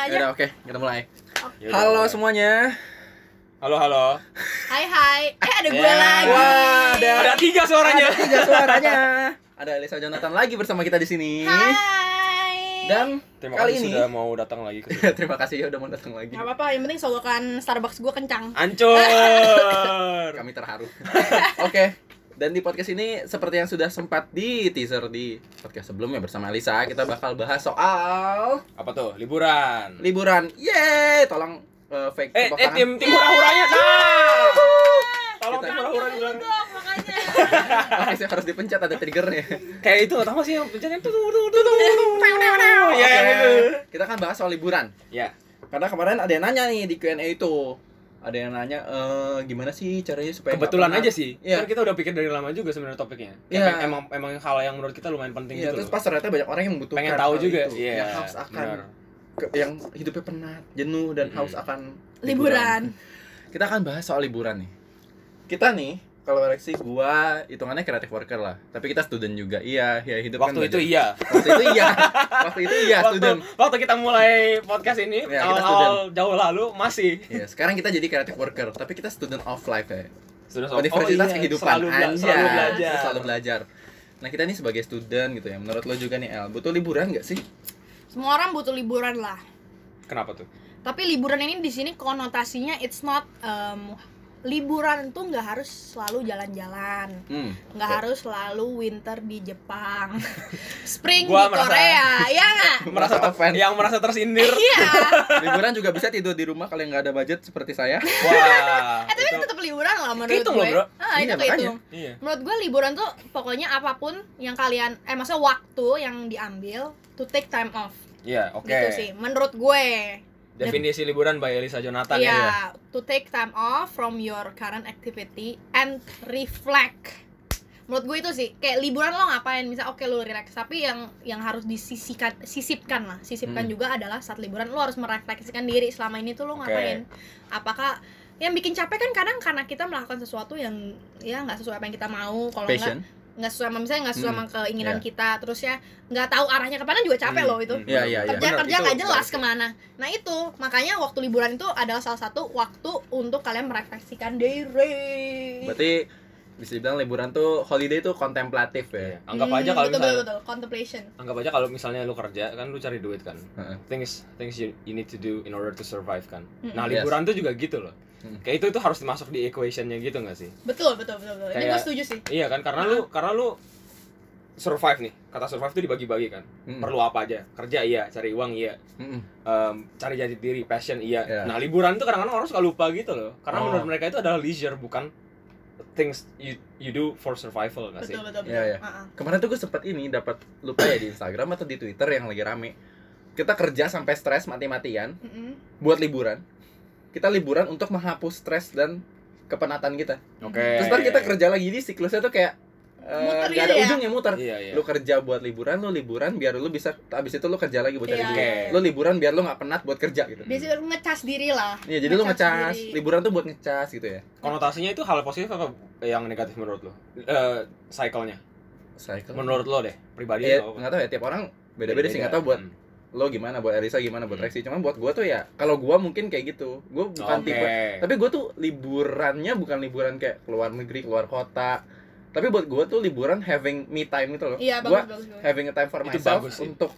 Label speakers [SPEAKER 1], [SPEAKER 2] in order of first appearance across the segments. [SPEAKER 1] aja.
[SPEAKER 2] Yaudah, oke, kita mulai.
[SPEAKER 1] Oke.
[SPEAKER 2] Halo semuanya.
[SPEAKER 3] Halo halo.
[SPEAKER 1] Hai hai. Eh ada gue
[SPEAKER 3] Ya.
[SPEAKER 1] lagi.
[SPEAKER 2] Wah, ada-
[SPEAKER 3] Ada tiga
[SPEAKER 2] Ada
[SPEAKER 3] suaranya.
[SPEAKER 2] tiga suaranya. Ada Elisa Jonathan lagi bersama kita di sini.
[SPEAKER 1] Hai.
[SPEAKER 2] Dan
[SPEAKER 3] Terima
[SPEAKER 2] Kali
[SPEAKER 3] kasih
[SPEAKER 2] ini-
[SPEAKER 3] sudah mau datang lagi ke sini.
[SPEAKER 2] terima kasih ya udah mau datang lagi.
[SPEAKER 1] Gak apa-apa, yang penting solokan Starbucks gue kencang.
[SPEAKER 3] Ancur.
[SPEAKER 2] Kami terharu. oke. Dan di podcast ini seperti yang sudah sempat di teaser di podcast sebelumnya bersama Elisa, kita bakal bahas soal
[SPEAKER 3] Apa tuh? Liburan.
[SPEAKER 2] liburan. Yeay, tolong eh, fake
[SPEAKER 3] eh,
[SPEAKER 2] tepuk
[SPEAKER 3] eh
[SPEAKER 2] tangan.
[SPEAKER 3] tim tim hura-huranya dah. Tolong
[SPEAKER 2] Kita-
[SPEAKER 3] tim hura-huranya dong.
[SPEAKER 1] dong makanya.
[SPEAKER 2] Makasih, harus dipencet ada triggernya.
[SPEAKER 3] Kayak itu tahu sih yang pencet itu tuh tuh tuh tuh.
[SPEAKER 2] Oke,
[SPEAKER 3] Ya yang itu.
[SPEAKER 2] Kita akan bahas soal liburan.
[SPEAKER 3] Ya.
[SPEAKER 2] Karena kemarin ada yang nanya nih di Q&A itu. Ada yang nanya eh gimana sih caranya supaya nggak
[SPEAKER 3] Kebetulan
[SPEAKER 2] penat?
[SPEAKER 3] aja sih.
[SPEAKER 2] Iya.
[SPEAKER 3] Kan kita udah pikir dari lama juga sebenarnya topiknya.
[SPEAKER 2] Iya.
[SPEAKER 3] Kayak Emang emang hal yang menurut kita lumayan penting
[SPEAKER 2] Iya,
[SPEAKER 3] gitu.
[SPEAKER 2] terus
[SPEAKER 3] loh.
[SPEAKER 2] pas ternyata banyak orang yang membutuhkan
[SPEAKER 3] Pengen tahu
[SPEAKER 2] hal
[SPEAKER 3] juga.
[SPEAKER 2] itu.
[SPEAKER 3] Iya.
[SPEAKER 2] Yang haus akan
[SPEAKER 3] benar.
[SPEAKER 2] ke- yang hidupnya penat, jenuh dan
[SPEAKER 3] Mm-mm.
[SPEAKER 2] haus akan
[SPEAKER 1] Liburan.
[SPEAKER 2] Kita akan bahas soal liburan nih. Kita nih kalau reaksi gua hitungannya creative worker lah. Tapi kita student juga. Iya, ya hidup
[SPEAKER 3] Waktu
[SPEAKER 2] kan
[SPEAKER 3] itu
[SPEAKER 2] banyak.
[SPEAKER 3] iya.
[SPEAKER 2] Waktu itu iya. Waktu itu iya
[SPEAKER 3] Waktu, Oh.
[SPEAKER 2] student.
[SPEAKER 3] waktu kita mulai podcast ini
[SPEAKER 2] Iya, kita
[SPEAKER 3] awal-awal jauh lalu masih
[SPEAKER 2] Ya, sekarang kita jadi creative worker, tapi kita student of life ya.
[SPEAKER 3] Sudah
[SPEAKER 2] Oh, Universitas kehidupan
[SPEAKER 3] iya. selalu, bela-
[SPEAKER 2] Anjay.
[SPEAKER 3] selalu belajar.
[SPEAKER 2] Selalu belajar. Nah, kita nih sebagai student gitu ya. Menurut lo juga nih El, butuh liburan nggak sih?
[SPEAKER 1] Semua orang butuh liburan lah.
[SPEAKER 3] Kenapa tuh?
[SPEAKER 1] Tapi liburan ini di sini konotasinya it's not um, liburan tuh nggak harus selalu jalan-jalan.
[SPEAKER 2] Hmm.
[SPEAKER 1] nggak harus selalu winter di Jepang, spring
[SPEAKER 3] Gua
[SPEAKER 1] di
[SPEAKER 3] merasa-
[SPEAKER 1] Korea, ya nggak?
[SPEAKER 3] Merasa ter-
[SPEAKER 2] Offense.
[SPEAKER 3] Kan? yang merasa tersindir.
[SPEAKER 1] Iya.
[SPEAKER 2] Liburan juga bisa tidur di rumah kalau nggak ada budget seperti saya.
[SPEAKER 3] Wah.
[SPEAKER 1] Eh tapi itu
[SPEAKER 3] itu-
[SPEAKER 1] tetap liburan lah menurut
[SPEAKER 3] Kehitung
[SPEAKER 1] gue.
[SPEAKER 3] loh, Bro.
[SPEAKER 1] Ah, itu
[SPEAKER 2] Iya,
[SPEAKER 1] kehitung.
[SPEAKER 3] Iya.
[SPEAKER 1] Menurut gue liburan tuh pokoknya apapun yang kalian, eh maksudnya waktu yang diambil to take time off
[SPEAKER 3] Iya, oke.
[SPEAKER 1] gitu sih. Menurut gue.
[SPEAKER 3] Definisi liburan by Elisa Jonathan
[SPEAKER 1] Iya,
[SPEAKER 3] ya.
[SPEAKER 1] to take time off from your current activity and reflect. Menurut gue itu sih kayak liburan lo ngapain? Misal oke lo relax, tapi yang yang harus disisipkan sisipkan lah. Sisipkan
[SPEAKER 2] Hmm.
[SPEAKER 1] juga adalah saat liburan lo harus merefleksikan diri selama ini tuh lo
[SPEAKER 3] Oke.
[SPEAKER 1] ngapain. Apakah yang bikin capek kan kadang karena kita melakukan sesuatu yang ya nggak sesuai apa yang kita mau kalau nggak
[SPEAKER 2] Passion.
[SPEAKER 1] nggak sesuai sama misalnya nggak sesuai
[SPEAKER 2] Hmm.
[SPEAKER 1] sama keinginan
[SPEAKER 2] Iya.
[SPEAKER 1] kita terus ya nggak tahu arahnya kemana juga capek
[SPEAKER 3] Hmm,
[SPEAKER 1] loh itu
[SPEAKER 3] hmm.
[SPEAKER 2] Iya, iya, iya.
[SPEAKER 1] kerja
[SPEAKER 2] Benar,
[SPEAKER 1] kerja
[SPEAKER 2] itu
[SPEAKER 1] nggak jelas
[SPEAKER 2] bagus.
[SPEAKER 1] kemana nah itu makanya waktu liburan itu adalah salah satu waktu untuk kalian merefleksikan diri
[SPEAKER 2] Berarti bisa dibilang liburan tuh holiday tuh kontemplatif ya.
[SPEAKER 3] Iya. Anggap
[SPEAKER 1] Hmm,
[SPEAKER 3] aja kalau
[SPEAKER 1] betul,
[SPEAKER 3] misalnya
[SPEAKER 1] betul, betul, contemplation
[SPEAKER 3] anggap aja kalau misalnya lu kerja kan lu cari duit kan.
[SPEAKER 2] Heeh.
[SPEAKER 3] Things things you, you need to do in order to survive kan.
[SPEAKER 1] Mm-mm.
[SPEAKER 3] Nah,
[SPEAKER 2] Yes.
[SPEAKER 3] liburan tuh juga gitu loh.
[SPEAKER 2] Mm.
[SPEAKER 3] Kayak itu itu harus dimasuk di equationnya gitu nggak sih?
[SPEAKER 1] betul betul betul, betul. ini
[SPEAKER 3] Kayak-
[SPEAKER 1] gue setuju sih
[SPEAKER 3] Iya kan karena lu karena lu survive nih. Kata survive itu dibagi-bagi kan.
[SPEAKER 2] Mm.
[SPEAKER 3] Perlu apa aja? Kerja iya, cari uang iya,
[SPEAKER 2] Mm-mm.
[SPEAKER 3] Em, cari jati diri, passion iya.
[SPEAKER 2] Iya.
[SPEAKER 3] Nah, liburan tuh kadang-kadang orang suka lupa gitu loh. Karena
[SPEAKER 2] Oh.
[SPEAKER 3] menurut mereka itu adalah leisure bukan things you you do for survival nggak sih?
[SPEAKER 1] betul betul betul
[SPEAKER 2] Iya, iya.
[SPEAKER 1] Ah, ah.
[SPEAKER 2] Kemarin tuh gue sempet ini dapat lupa ya di Instagram atau di Twitter yang lagi rame. Kita kerja sampai stres mati-matian
[SPEAKER 1] Mm-mm.
[SPEAKER 2] buat liburan. Kita liburan untuk menghapus stres dan kepenatan kita.
[SPEAKER 3] Oke.
[SPEAKER 2] Terus ntar
[SPEAKER 3] iya.
[SPEAKER 2] kita kerja lagi di siklusnya tuh kayak eh,
[SPEAKER 1] Muter
[SPEAKER 2] nggak
[SPEAKER 1] gitu
[SPEAKER 2] ada
[SPEAKER 1] ya?
[SPEAKER 2] ujungnya muter.
[SPEAKER 3] Iya, iya.
[SPEAKER 2] Lu kerja buat liburan, lu liburan biar lu bisa abis itu lu kerja lagi buat cari
[SPEAKER 1] Iya,
[SPEAKER 2] duit.
[SPEAKER 1] iya, iya.
[SPEAKER 2] Lu liburan biar lu nggak penat buat kerja gitu.
[SPEAKER 1] biasanya ngecas diri lah
[SPEAKER 2] Iya, jadi lu
[SPEAKER 1] Ngecas
[SPEAKER 2] ngecas.
[SPEAKER 1] diri.
[SPEAKER 2] Liburan tuh buat ngecas gitu ya.
[SPEAKER 3] Konotasinya itu hal positif apa yang negatif menurut lo? Eh, cycle-nya.
[SPEAKER 2] Cycle.
[SPEAKER 3] Menurut lo deh, pribadi
[SPEAKER 2] ya,
[SPEAKER 3] lo apa?
[SPEAKER 2] nggak tahu ya tiap orang beda-beda sih nggak tahu buat
[SPEAKER 3] Hmm.
[SPEAKER 2] lo gimana buat Erisa gimana buat
[SPEAKER 3] Hmm. Oh,
[SPEAKER 2] Rexy cuman buat gue tuh ya kalau gue mungkin kayak gitu gue bukan
[SPEAKER 3] Oke.
[SPEAKER 2] tipe tapi gue tuh liburannya bukan liburan kayak keluar negeri keluar kota tapi buat gue tuh liburan having me time gitu loh
[SPEAKER 1] iya
[SPEAKER 2] gue
[SPEAKER 1] bagus bagus bagus
[SPEAKER 2] having a time for
[SPEAKER 3] Itu
[SPEAKER 2] myself
[SPEAKER 3] bagus sih.
[SPEAKER 2] untuk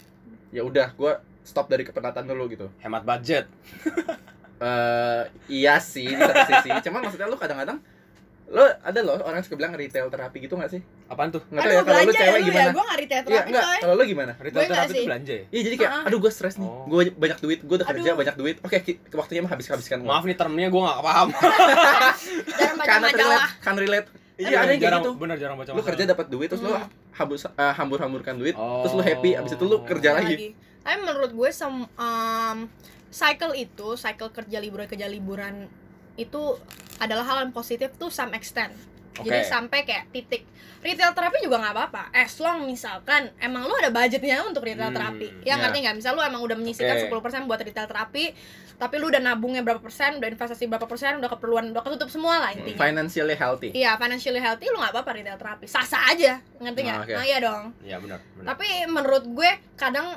[SPEAKER 2] ya udah gue stop dari kepenatan dulu gitu
[SPEAKER 3] hemat budget.
[SPEAKER 2] eh iya sih di satu sisi cuman maksudnya lo kadang-kadang lo ada loh orang yang suka bilang retail terapi gitu gak sih
[SPEAKER 3] Apaan tuh?
[SPEAKER 2] nggak tahu ya kalau lo
[SPEAKER 1] belanja
[SPEAKER 2] cewek
[SPEAKER 1] ya,
[SPEAKER 2] gimana
[SPEAKER 1] ya. gue nggak retail
[SPEAKER 2] iya
[SPEAKER 1] terapi
[SPEAKER 2] enggak
[SPEAKER 1] coy
[SPEAKER 2] kalau lo gimana
[SPEAKER 3] Retail
[SPEAKER 1] nggak
[SPEAKER 3] terapi itu
[SPEAKER 1] sih.
[SPEAKER 3] belanja ya?
[SPEAKER 2] Iya jadi kayak
[SPEAKER 1] Ah.
[SPEAKER 2] aduh gue stres nih,
[SPEAKER 3] Oh.
[SPEAKER 2] gue banyak duit, gue udah kerja
[SPEAKER 1] Aduh.
[SPEAKER 2] banyak duit, oke ki- waktunya mah habis habiskan.
[SPEAKER 3] Maaf nih termnya gue gak paham.
[SPEAKER 1] jangan baca
[SPEAKER 2] kan relate,
[SPEAKER 1] majalah
[SPEAKER 2] kan relate.
[SPEAKER 3] Tapi
[SPEAKER 2] Iya ada yang kayak
[SPEAKER 3] jarang,
[SPEAKER 2] gitu.
[SPEAKER 3] Bener jarang baca
[SPEAKER 2] Lu
[SPEAKER 3] masalah.
[SPEAKER 2] kerja dapat duit terus lu
[SPEAKER 1] Hmm.
[SPEAKER 2] habus eh, hambur-hamburkan duit,
[SPEAKER 3] Oh.
[SPEAKER 2] terus lu happy, abis itu lu kerja
[SPEAKER 1] Ada
[SPEAKER 2] lagi.
[SPEAKER 1] Tapi menurut gue sem em, cycle itu, cycle kerja liburan kerja liburan itu adalah hal yang positif tuh some extent.
[SPEAKER 3] Oke.
[SPEAKER 1] Jadi sampai kayak titik retail terapi juga nggak apa-apa. As long misalkan emang lu ada budgetnya untuk retail
[SPEAKER 3] Hmm,
[SPEAKER 1] terapi. Ya
[SPEAKER 2] ya.
[SPEAKER 1] ngerti nggak? Misal lu emang udah
[SPEAKER 3] Oke.
[SPEAKER 1] menyisihkan 10% buat retail terapi, tapi lu udah nabungnya berapa persen, udah investasi berapa persen, udah keperluan, udah ketutup semua lah intinya.
[SPEAKER 3] Hmm,
[SPEAKER 2] Financially healthy.
[SPEAKER 1] Iya, financially healthy lu nggak apa-apa
[SPEAKER 3] Hmm,
[SPEAKER 1] retail terapi. Sah-sah aja. Ngerti nggak?
[SPEAKER 2] Ah, oke.
[SPEAKER 1] Nah, iya dong.
[SPEAKER 3] Iya bener. bener.
[SPEAKER 1] Tapi menurut gue kadang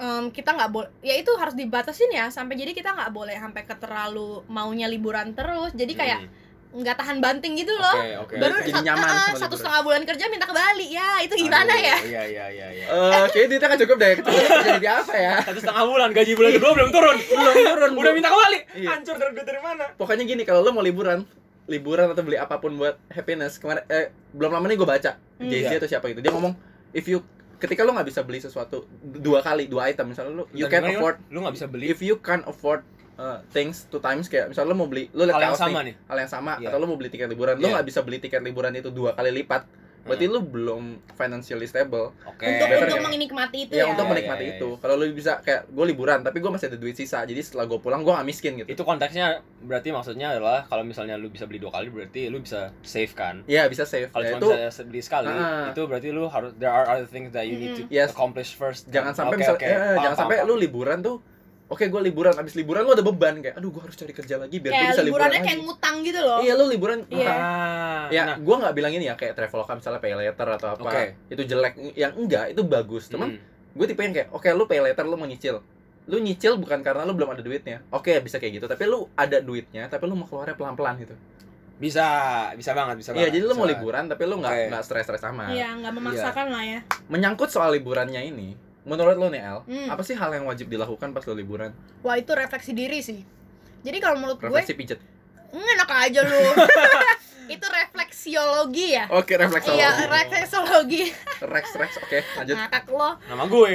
[SPEAKER 1] em, kita nggak boleh ya itu harus dibatasin ya sampai jadi kita nggak boleh sampai ke terlalu maunya liburan terus jadi kayak
[SPEAKER 3] Hmm.
[SPEAKER 1] nggak tahan banting gitu
[SPEAKER 3] Oke,
[SPEAKER 1] loh
[SPEAKER 3] oke.
[SPEAKER 1] baru
[SPEAKER 2] Jadi
[SPEAKER 1] sat-
[SPEAKER 2] nyaman
[SPEAKER 1] ah, ah,
[SPEAKER 2] sama
[SPEAKER 1] satu
[SPEAKER 2] liburan.
[SPEAKER 1] setengah bulan kerja minta ke Bali ya itu gimana
[SPEAKER 3] Aduh,
[SPEAKER 1] ya
[SPEAKER 3] Iya, iya, iya, iya.
[SPEAKER 2] Eh, kayaknya duitnya nggak cukup deh. Kecuali jadi apa ya?
[SPEAKER 3] Satu setengah bulan gaji bulan kedua belum turun.
[SPEAKER 2] Belum turun.
[SPEAKER 3] Udah
[SPEAKER 2] Bu.
[SPEAKER 3] minta Ah. kembali.
[SPEAKER 2] Iya.
[SPEAKER 3] Hancur dari duit dari mana?
[SPEAKER 2] Pokoknya gini, kalau lo mau liburan, liburan atau beli apapun buat happiness kemarin eh belum lama nih gue baca
[SPEAKER 1] Hmm.
[SPEAKER 2] Jay Z
[SPEAKER 3] Iya.
[SPEAKER 2] atau siapa gitu dia ngomong if you ketika lo nggak bisa beli sesuatu dua kali dua item misalnya lo you can
[SPEAKER 3] Bentar, gimana,
[SPEAKER 2] afford
[SPEAKER 3] gimana? Lu nggak bisa beli
[SPEAKER 2] if you can afford uh, things two times kayak misalnya lo mau beli lo liat
[SPEAKER 3] hal yang
[SPEAKER 2] kaos Iya, nih,
[SPEAKER 3] sama nih.
[SPEAKER 2] hal yang sama
[SPEAKER 3] Iya.
[SPEAKER 2] atau lo mau beli tiket liburan lo
[SPEAKER 3] Iya. Hmm.
[SPEAKER 2] nggak bisa beli tiket liburan itu dua kali lipat berarti lo belum financially stable
[SPEAKER 3] Oke.
[SPEAKER 1] untuk
[SPEAKER 2] better
[SPEAKER 1] untuk
[SPEAKER 2] ya.
[SPEAKER 1] menikmati itu
[SPEAKER 2] ya,
[SPEAKER 1] ya,
[SPEAKER 2] untuk
[SPEAKER 3] Iya,
[SPEAKER 2] menikmati
[SPEAKER 3] iya, iya.
[SPEAKER 2] itu kalau lo bisa kayak gue liburan tapi gue masih ada duit sisa jadi setelah gue pulang gue gak miskin gitu
[SPEAKER 3] Itu konteksnya berarti maksudnya adalah kalau misalnya lu bisa beli dua kali berarti lu bisa save kan.
[SPEAKER 2] ya bisa save
[SPEAKER 3] Kalau
[SPEAKER 2] ya,
[SPEAKER 3] cuma
[SPEAKER 2] itu
[SPEAKER 3] bisa beli sekali,
[SPEAKER 2] Ah.
[SPEAKER 3] itu berarti lu harus there are other things that you need to
[SPEAKER 1] Mm-mm.
[SPEAKER 2] Yes.
[SPEAKER 3] accomplish first.
[SPEAKER 2] jangan sampai
[SPEAKER 3] Oke,
[SPEAKER 2] misal-
[SPEAKER 3] oke.
[SPEAKER 2] eh,
[SPEAKER 3] Paham,
[SPEAKER 2] jangan
[SPEAKER 3] paham,
[SPEAKER 2] sampai
[SPEAKER 3] paham.
[SPEAKER 2] lu liburan tuh oke gue liburan abis liburan lu ada beban kayak aduh gue harus cari kerja lagi biar gue
[SPEAKER 1] kayak
[SPEAKER 2] bisa liburan
[SPEAKER 1] liburannya
[SPEAKER 2] lagi
[SPEAKER 1] kayak ngutang gitu loh
[SPEAKER 2] iya lu liburan
[SPEAKER 1] Iya.
[SPEAKER 3] Ah,
[SPEAKER 2] ya
[SPEAKER 3] nah,
[SPEAKER 2] gue nggak bilang ini ya kayak traveloka misalnya pay later atau apa
[SPEAKER 3] Oke.
[SPEAKER 2] itu jelek yang enggak itu bagus cuman
[SPEAKER 3] mm.
[SPEAKER 2] gue tipe yang kayak oke lu pay later lu mau nyicil lu nyicil bukan karena lu belum ada duitnya oke bisa kayak gitu tapi lu ada duitnya tapi lu mau keluarnya pelan pelan gitu
[SPEAKER 3] bisa, bisa banget, bisa
[SPEAKER 2] iya
[SPEAKER 3] banget.
[SPEAKER 2] jadi lu
[SPEAKER 3] bisa
[SPEAKER 2] mau
[SPEAKER 3] banget.
[SPEAKER 2] liburan tapi lu nggak
[SPEAKER 3] Oke.
[SPEAKER 2] nggak stres stres sama
[SPEAKER 1] Iya, nggak memaksakan lah ya
[SPEAKER 2] menyangkut soal liburannya ini menurut lu nih El
[SPEAKER 1] Hmm.
[SPEAKER 2] apa sih hal yang wajib dilakukan pas lu liburan
[SPEAKER 1] wah itu refleksi diri sih jadi kalau menurut gue mm,
[SPEAKER 2] refleksi pijet
[SPEAKER 1] enak aja lu itu refleksiologi ya
[SPEAKER 2] oke refleksologi
[SPEAKER 1] Iya, Nah. refleksologi.
[SPEAKER 2] Rex Rex oke lanjut
[SPEAKER 1] Ngakak lo.
[SPEAKER 3] Nama gue.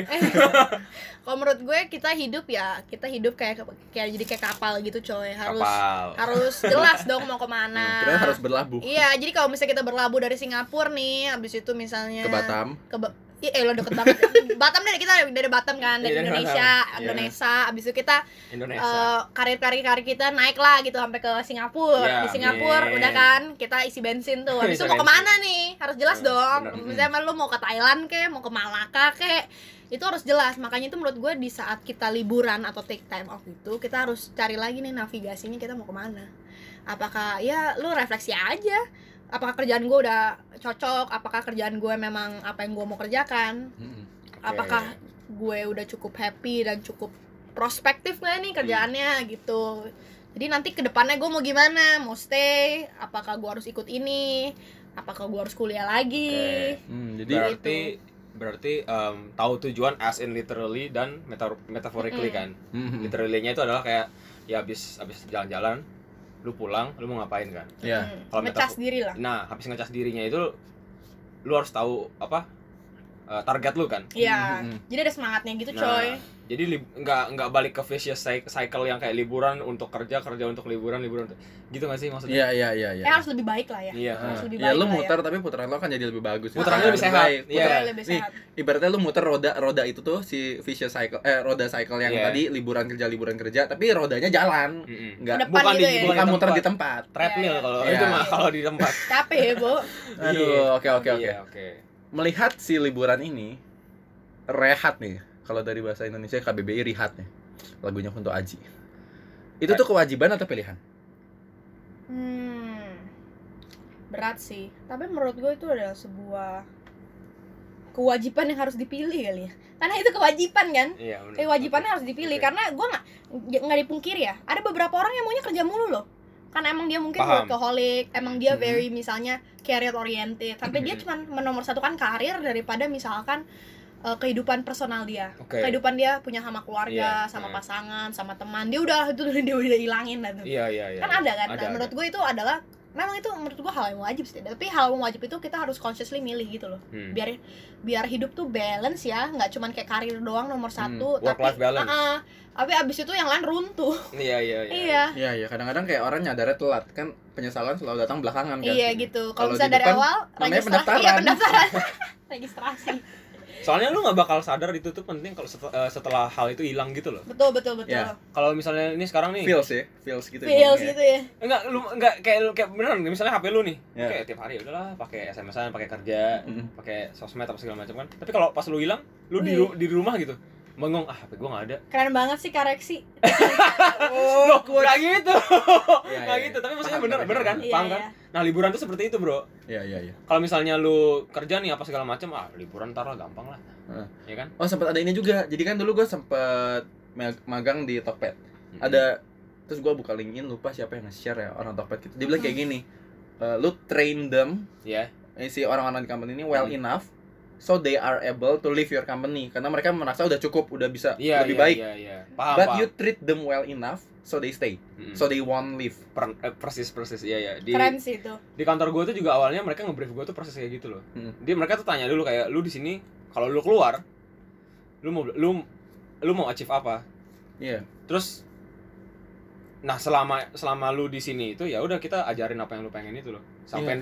[SPEAKER 1] Kalau menurut gue kita hidup ya, kita hidup kayak kayak jadi kayak kapal gitu, coy. Harus
[SPEAKER 3] Kapal.
[SPEAKER 1] harus jelas dong mau kemana.
[SPEAKER 2] kita Hmm, harus berlabuh
[SPEAKER 1] Iya, jadi kalau misalnya kita berlabuh dari Singapura nih, habis itu misalnya
[SPEAKER 2] ke Batam
[SPEAKER 1] Ke Ba- Ih, eh, lo deket banget. Batam dari kita dari Batam kan, dari
[SPEAKER 3] Iya, dari
[SPEAKER 1] Indonesia,
[SPEAKER 3] Batam.
[SPEAKER 1] Indonesia. Abis itu kita
[SPEAKER 3] Indonesia.
[SPEAKER 1] eh, karir-karir kita naik lah gitu sampai ke Singapura.
[SPEAKER 3] Iya,
[SPEAKER 1] di Singapura
[SPEAKER 3] amin.
[SPEAKER 1] udah kan kita isi bensin tuh. Habis
[SPEAKER 3] Isi
[SPEAKER 1] itu
[SPEAKER 3] bensin.
[SPEAKER 1] mau kemana nih? Harus jelas
[SPEAKER 3] Benar,
[SPEAKER 1] dong.
[SPEAKER 3] benar.
[SPEAKER 1] Misalnya lu mau ke Thailand kek, mau ke Malaka kek, itu harus jelas. Makanya itu menurut gue di saat kita liburan atau take time off itu kita harus cari lagi nih navigasinya kita mau kemana. Apakah ya lu refleksi aja apakah kerjaan gue udah cocok apakah kerjaan gue memang apa yang gue mau kerjakan
[SPEAKER 2] Mm-mm.
[SPEAKER 3] Oke.
[SPEAKER 1] apakah gue udah cukup happy dan cukup prospektif nggak nih kerjaannya
[SPEAKER 3] Hmm.
[SPEAKER 1] gitu jadi nanti kedepannya gue mau gimana mau stay apakah gue harus ikut ini apakah gue harus kuliah lagi
[SPEAKER 2] Hmm, jadi
[SPEAKER 3] berarti berarti em, tahu tujuan as in literally dan metafor metaphorically
[SPEAKER 1] Mm-mm.
[SPEAKER 3] kan.
[SPEAKER 2] Mm-mm.
[SPEAKER 3] Literally-nya itu adalah kayak ya habis habis jalan-jalan lu pulang, lu mau ngapain kan?
[SPEAKER 2] ya
[SPEAKER 1] Hmm,
[SPEAKER 3] Kalau
[SPEAKER 1] ngecas
[SPEAKER 3] metafor-
[SPEAKER 1] diri lah
[SPEAKER 3] Nah, habis ngecas dirinya itu lu harus tahu apa? eh, target lu kan.
[SPEAKER 1] Iya,
[SPEAKER 2] Mm-mm.
[SPEAKER 1] jadi ada semangatnya gitu
[SPEAKER 3] Nah,
[SPEAKER 1] coy
[SPEAKER 3] Jadi lib- nggak nggak balik ke vicious cy- cycle yang kayak liburan untuk kerja, kerja untuk liburan, liburan untuk gitu nggak sih maksudnya?
[SPEAKER 2] Iya, iya, iya, iya.
[SPEAKER 1] eh harus lebih baik lah ya
[SPEAKER 3] Iya.
[SPEAKER 2] Ah,
[SPEAKER 1] harus lebih
[SPEAKER 2] ya lu
[SPEAKER 1] baik lah ya.
[SPEAKER 2] muter tapi putaran lo kan jadi lebih bagus.
[SPEAKER 1] Putarannya
[SPEAKER 3] lebih
[SPEAKER 2] Putaran
[SPEAKER 3] sehat,
[SPEAKER 2] baik.
[SPEAKER 3] iya.
[SPEAKER 2] Putaran-
[SPEAKER 1] Betul, lebih
[SPEAKER 2] Nih,
[SPEAKER 1] sehat
[SPEAKER 2] ibaratnya lu muter roda roda itu tuh si vicious cycle eh roda cycle yang
[SPEAKER 3] Iya.
[SPEAKER 2] tadi liburan kerja liburan kerja tapi rodanya jalan.
[SPEAKER 3] Mm-mm.
[SPEAKER 2] Enggak
[SPEAKER 1] Depan
[SPEAKER 3] bukan di,
[SPEAKER 1] gitu ya.
[SPEAKER 3] bukan
[SPEAKER 2] bukan
[SPEAKER 3] di
[SPEAKER 2] muter
[SPEAKER 3] tempat.
[SPEAKER 2] di tempat.
[SPEAKER 3] treadmill
[SPEAKER 1] Iya,
[SPEAKER 3] kalau
[SPEAKER 2] iya.
[SPEAKER 3] itu mah kalau di tempat.
[SPEAKER 1] capek ya bo
[SPEAKER 2] Aduh, oke oke oke.
[SPEAKER 3] Iya, Oke.
[SPEAKER 2] Melihat si liburan ini rehat nih. Kalau dari bahasa Indonesia KBBI rehat nih. Lagunya Kunto Aji. Itu tuh kewajiban atau pilihan?
[SPEAKER 1] Hmm, berat sih. Tapi menurut gue itu adalah sebuah kewajiban yang harus dipilih kali ya. Karena itu kewajiban kan.
[SPEAKER 3] Iya, benar.
[SPEAKER 1] Kewajibannya harus dipilih
[SPEAKER 3] Oke.
[SPEAKER 1] karena gue nggak nggak dipungkir ya. Ada beberapa orang yang maunya kerja mulu loh. Karena emang dia mungkin
[SPEAKER 3] Paham.
[SPEAKER 1] workaholic, emang dia
[SPEAKER 2] Mhm.
[SPEAKER 1] very misalnya career oriented. Sampai dia
[SPEAKER 3] Mhm.
[SPEAKER 1] cuman menomorsatukan karir daripada misalkan eh, kehidupan personal dia
[SPEAKER 3] Oke.
[SPEAKER 1] kehidupan dia punya sama
[SPEAKER 3] Iya,
[SPEAKER 1] keluarga, sama
[SPEAKER 3] iya.
[SPEAKER 1] pasangan, sama teman dia udah itu dia udah hilangin lah tuh
[SPEAKER 3] Iya, iya, iya.
[SPEAKER 1] kan ada kan
[SPEAKER 3] Ada,
[SPEAKER 1] Nah, menurut gue itu adalah memang itu menurut gue hal yang wajib sih tapi hal yang wajib itu kita harus consciously milih gitu loh
[SPEAKER 3] Hmm.
[SPEAKER 1] biar biar hidup tuh balance ya nggak cuman kayak karir doang nomor satu
[SPEAKER 3] work life Hmm,
[SPEAKER 1] tapi
[SPEAKER 3] balance.
[SPEAKER 1] Ah, ah. tapi abis itu yang lain runtuh
[SPEAKER 3] Iya, iya, iya.
[SPEAKER 1] iya
[SPEAKER 2] Iya, iya. Kadang-kadang kayak orang nyadarnya telat kan penyesalan selalu datang belakangan kan.
[SPEAKER 1] iya
[SPEAKER 2] Kalau
[SPEAKER 1] gitu kalau
[SPEAKER 2] di
[SPEAKER 1] misalnya dari
[SPEAKER 2] depan,
[SPEAKER 1] awal
[SPEAKER 2] namanya
[SPEAKER 1] registrasi iya
[SPEAKER 2] pendaftaran.
[SPEAKER 1] pendaftaran registrasi
[SPEAKER 3] Soalnya lu nggak bakal sadar itu tuh penting kalau setel- eh, setelah, hal itu hilang gitu loh.
[SPEAKER 1] betul betul betul
[SPEAKER 2] Iya.
[SPEAKER 3] Kalau misalnya ini sekarang nih,
[SPEAKER 2] Feels ya, feels gitu. ya
[SPEAKER 1] feels
[SPEAKER 2] ngomongnya.
[SPEAKER 1] gitu ya
[SPEAKER 3] enggak lu enggak kayak lu kayak beneran misalnya HP lu nih.
[SPEAKER 2] Iya.
[SPEAKER 3] Kayak tiap hari udahlah pakai SMS-an, pakai kerja,
[SPEAKER 2] Mm. Iya.
[SPEAKER 3] pakai sosmed apa segala macam kan. Tapi kalau pas lu hilang, lu di ru-
[SPEAKER 1] Wih.
[SPEAKER 3] di rumah gitu. Mengung, ah HP gue gak ada
[SPEAKER 1] keren banget sih Oh. kareksi
[SPEAKER 3] Loh, gak gitu
[SPEAKER 2] Oh, Iya,
[SPEAKER 3] Gak
[SPEAKER 2] iya.
[SPEAKER 3] gitu, tapi maksudnya
[SPEAKER 2] Paham,
[SPEAKER 3] bener,
[SPEAKER 2] paham,
[SPEAKER 3] bener kan?
[SPEAKER 1] Iya,
[SPEAKER 3] Paham kan?
[SPEAKER 1] iya.
[SPEAKER 3] Nah liburan tuh seperti itu bro
[SPEAKER 2] Iya, iya, iya.
[SPEAKER 3] Kalau misalnya lu kerja nih apa segala macam, ah liburan ntar lah gampang lah
[SPEAKER 2] Heeh.
[SPEAKER 3] Iya kan?
[SPEAKER 2] Oh, sempat ada ini juga. Jadi kan dulu gue sempat magang di Tokped.
[SPEAKER 3] Hmm.
[SPEAKER 2] ada terus gua buka LinkedIn lupa siapa yang nge-share ya orang Tokped gitu dia bilang
[SPEAKER 3] Hmm.
[SPEAKER 2] kayak gini "Eh, lu train them
[SPEAKER 3] Iya.
[SPEAKER 2] eh, si orang-orang di company ini well
[SPEAKER 3] Hmm.
[SPEAKER 2] enough so they are able to leave your company karena mereka merasa udah cukup udah bisa
[SPEAKER 3] Iya,
[SPEAKER 2] lebih
[SPEAKER 3] iya,
[SPEAKER 2] baik
[SPEAKER 3] Iya, iya. Paham,
[SPEAKER 2] but
[SPEAKER 3] paham.
[SPEAKER 2] you treat them well enough so they stay
[SPEAKER 3] Mm-mm.
[SPEAKER 2] so they won't leave
[SPEAKER 3] Per- eh, persis persis iya ya di
[SPEAKER 1] keren sih itu
[SPEAKER 3] di kantor gue tuh juga awalnya mereka ngebrief gue tuh proses kayak gitu loh
[SPEAKER 2] Hmm.
[SPEAKER 3] dia mereka tuh tanya dulu kayak lu di sini kalau lu keluar lu mau lu lu mau achieve apa
[SPEAKER 2] Iya.
[SPEAKER 3] terus nah selama selama lu di sini itu ya udah kita ajarin apa yang lu pengen itu loh sampai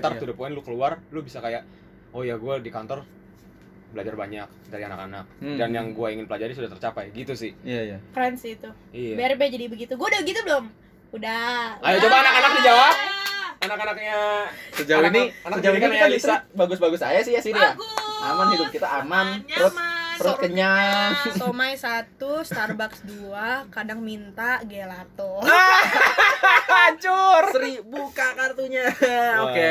[SPEAKER 2] Iya,
[SPEAKER 3] ntar
[SPEAKER 2] iya.
[SPEAKER 3] to the point lu keluar lu bisa kayak oh ya gue di kantor belajar banyak dari anak-anak
[SPEAKER 2] Hmm.
[SPEAKER 3] dan yang gue ingin pelajari sudah tercapai gitu sih
[SPEAKER 2] iya iya
[SPEAKER 1] keren sih itu
[SPEAKER 3] iya
[SPEAKER 1] BRB jadi begitu gue udah gitu belum udah
[SPEAKER 3] Ayo,
[SPEAKER 1] Udah.
[SPEAKER 3] coba anak-anak dijawab. anak-anaknya
[SPEAKER 2] sejauh
[SPEAKER 3] Anak-
[SPEAKER 2] ini
[SPEAKER 3] anak
[SPEAKER 2] sejauh ini kan
[SPEAKER 3] pendidikan
[SPEAKER 2] kita
[SPEAKER 3] yang
[SPEAKER 2] di
[SPEAKER 3] bisa.
[SPEAKER 2] treat bagus-bagus aja sih ya
[SPEAKER 3] Gitu
[SPEAKER 2] sini ya
[SPEAKER 1] bagus
[SPEAKER 2] aman hidup kita aman
[SPEAKER 1] Aman,
[SPEAKER 2] perut
[SPEAKER 1] nyaman,
[SPEAKER 2] perut
[SPEAKER 1] sorot
[SPEAKER 2] kenyang
[SPEAKER 1] kenyang. somai satu Starbucks dua kadang minta gelato
[SPEAKER 2] hancur seri buka kartunya oke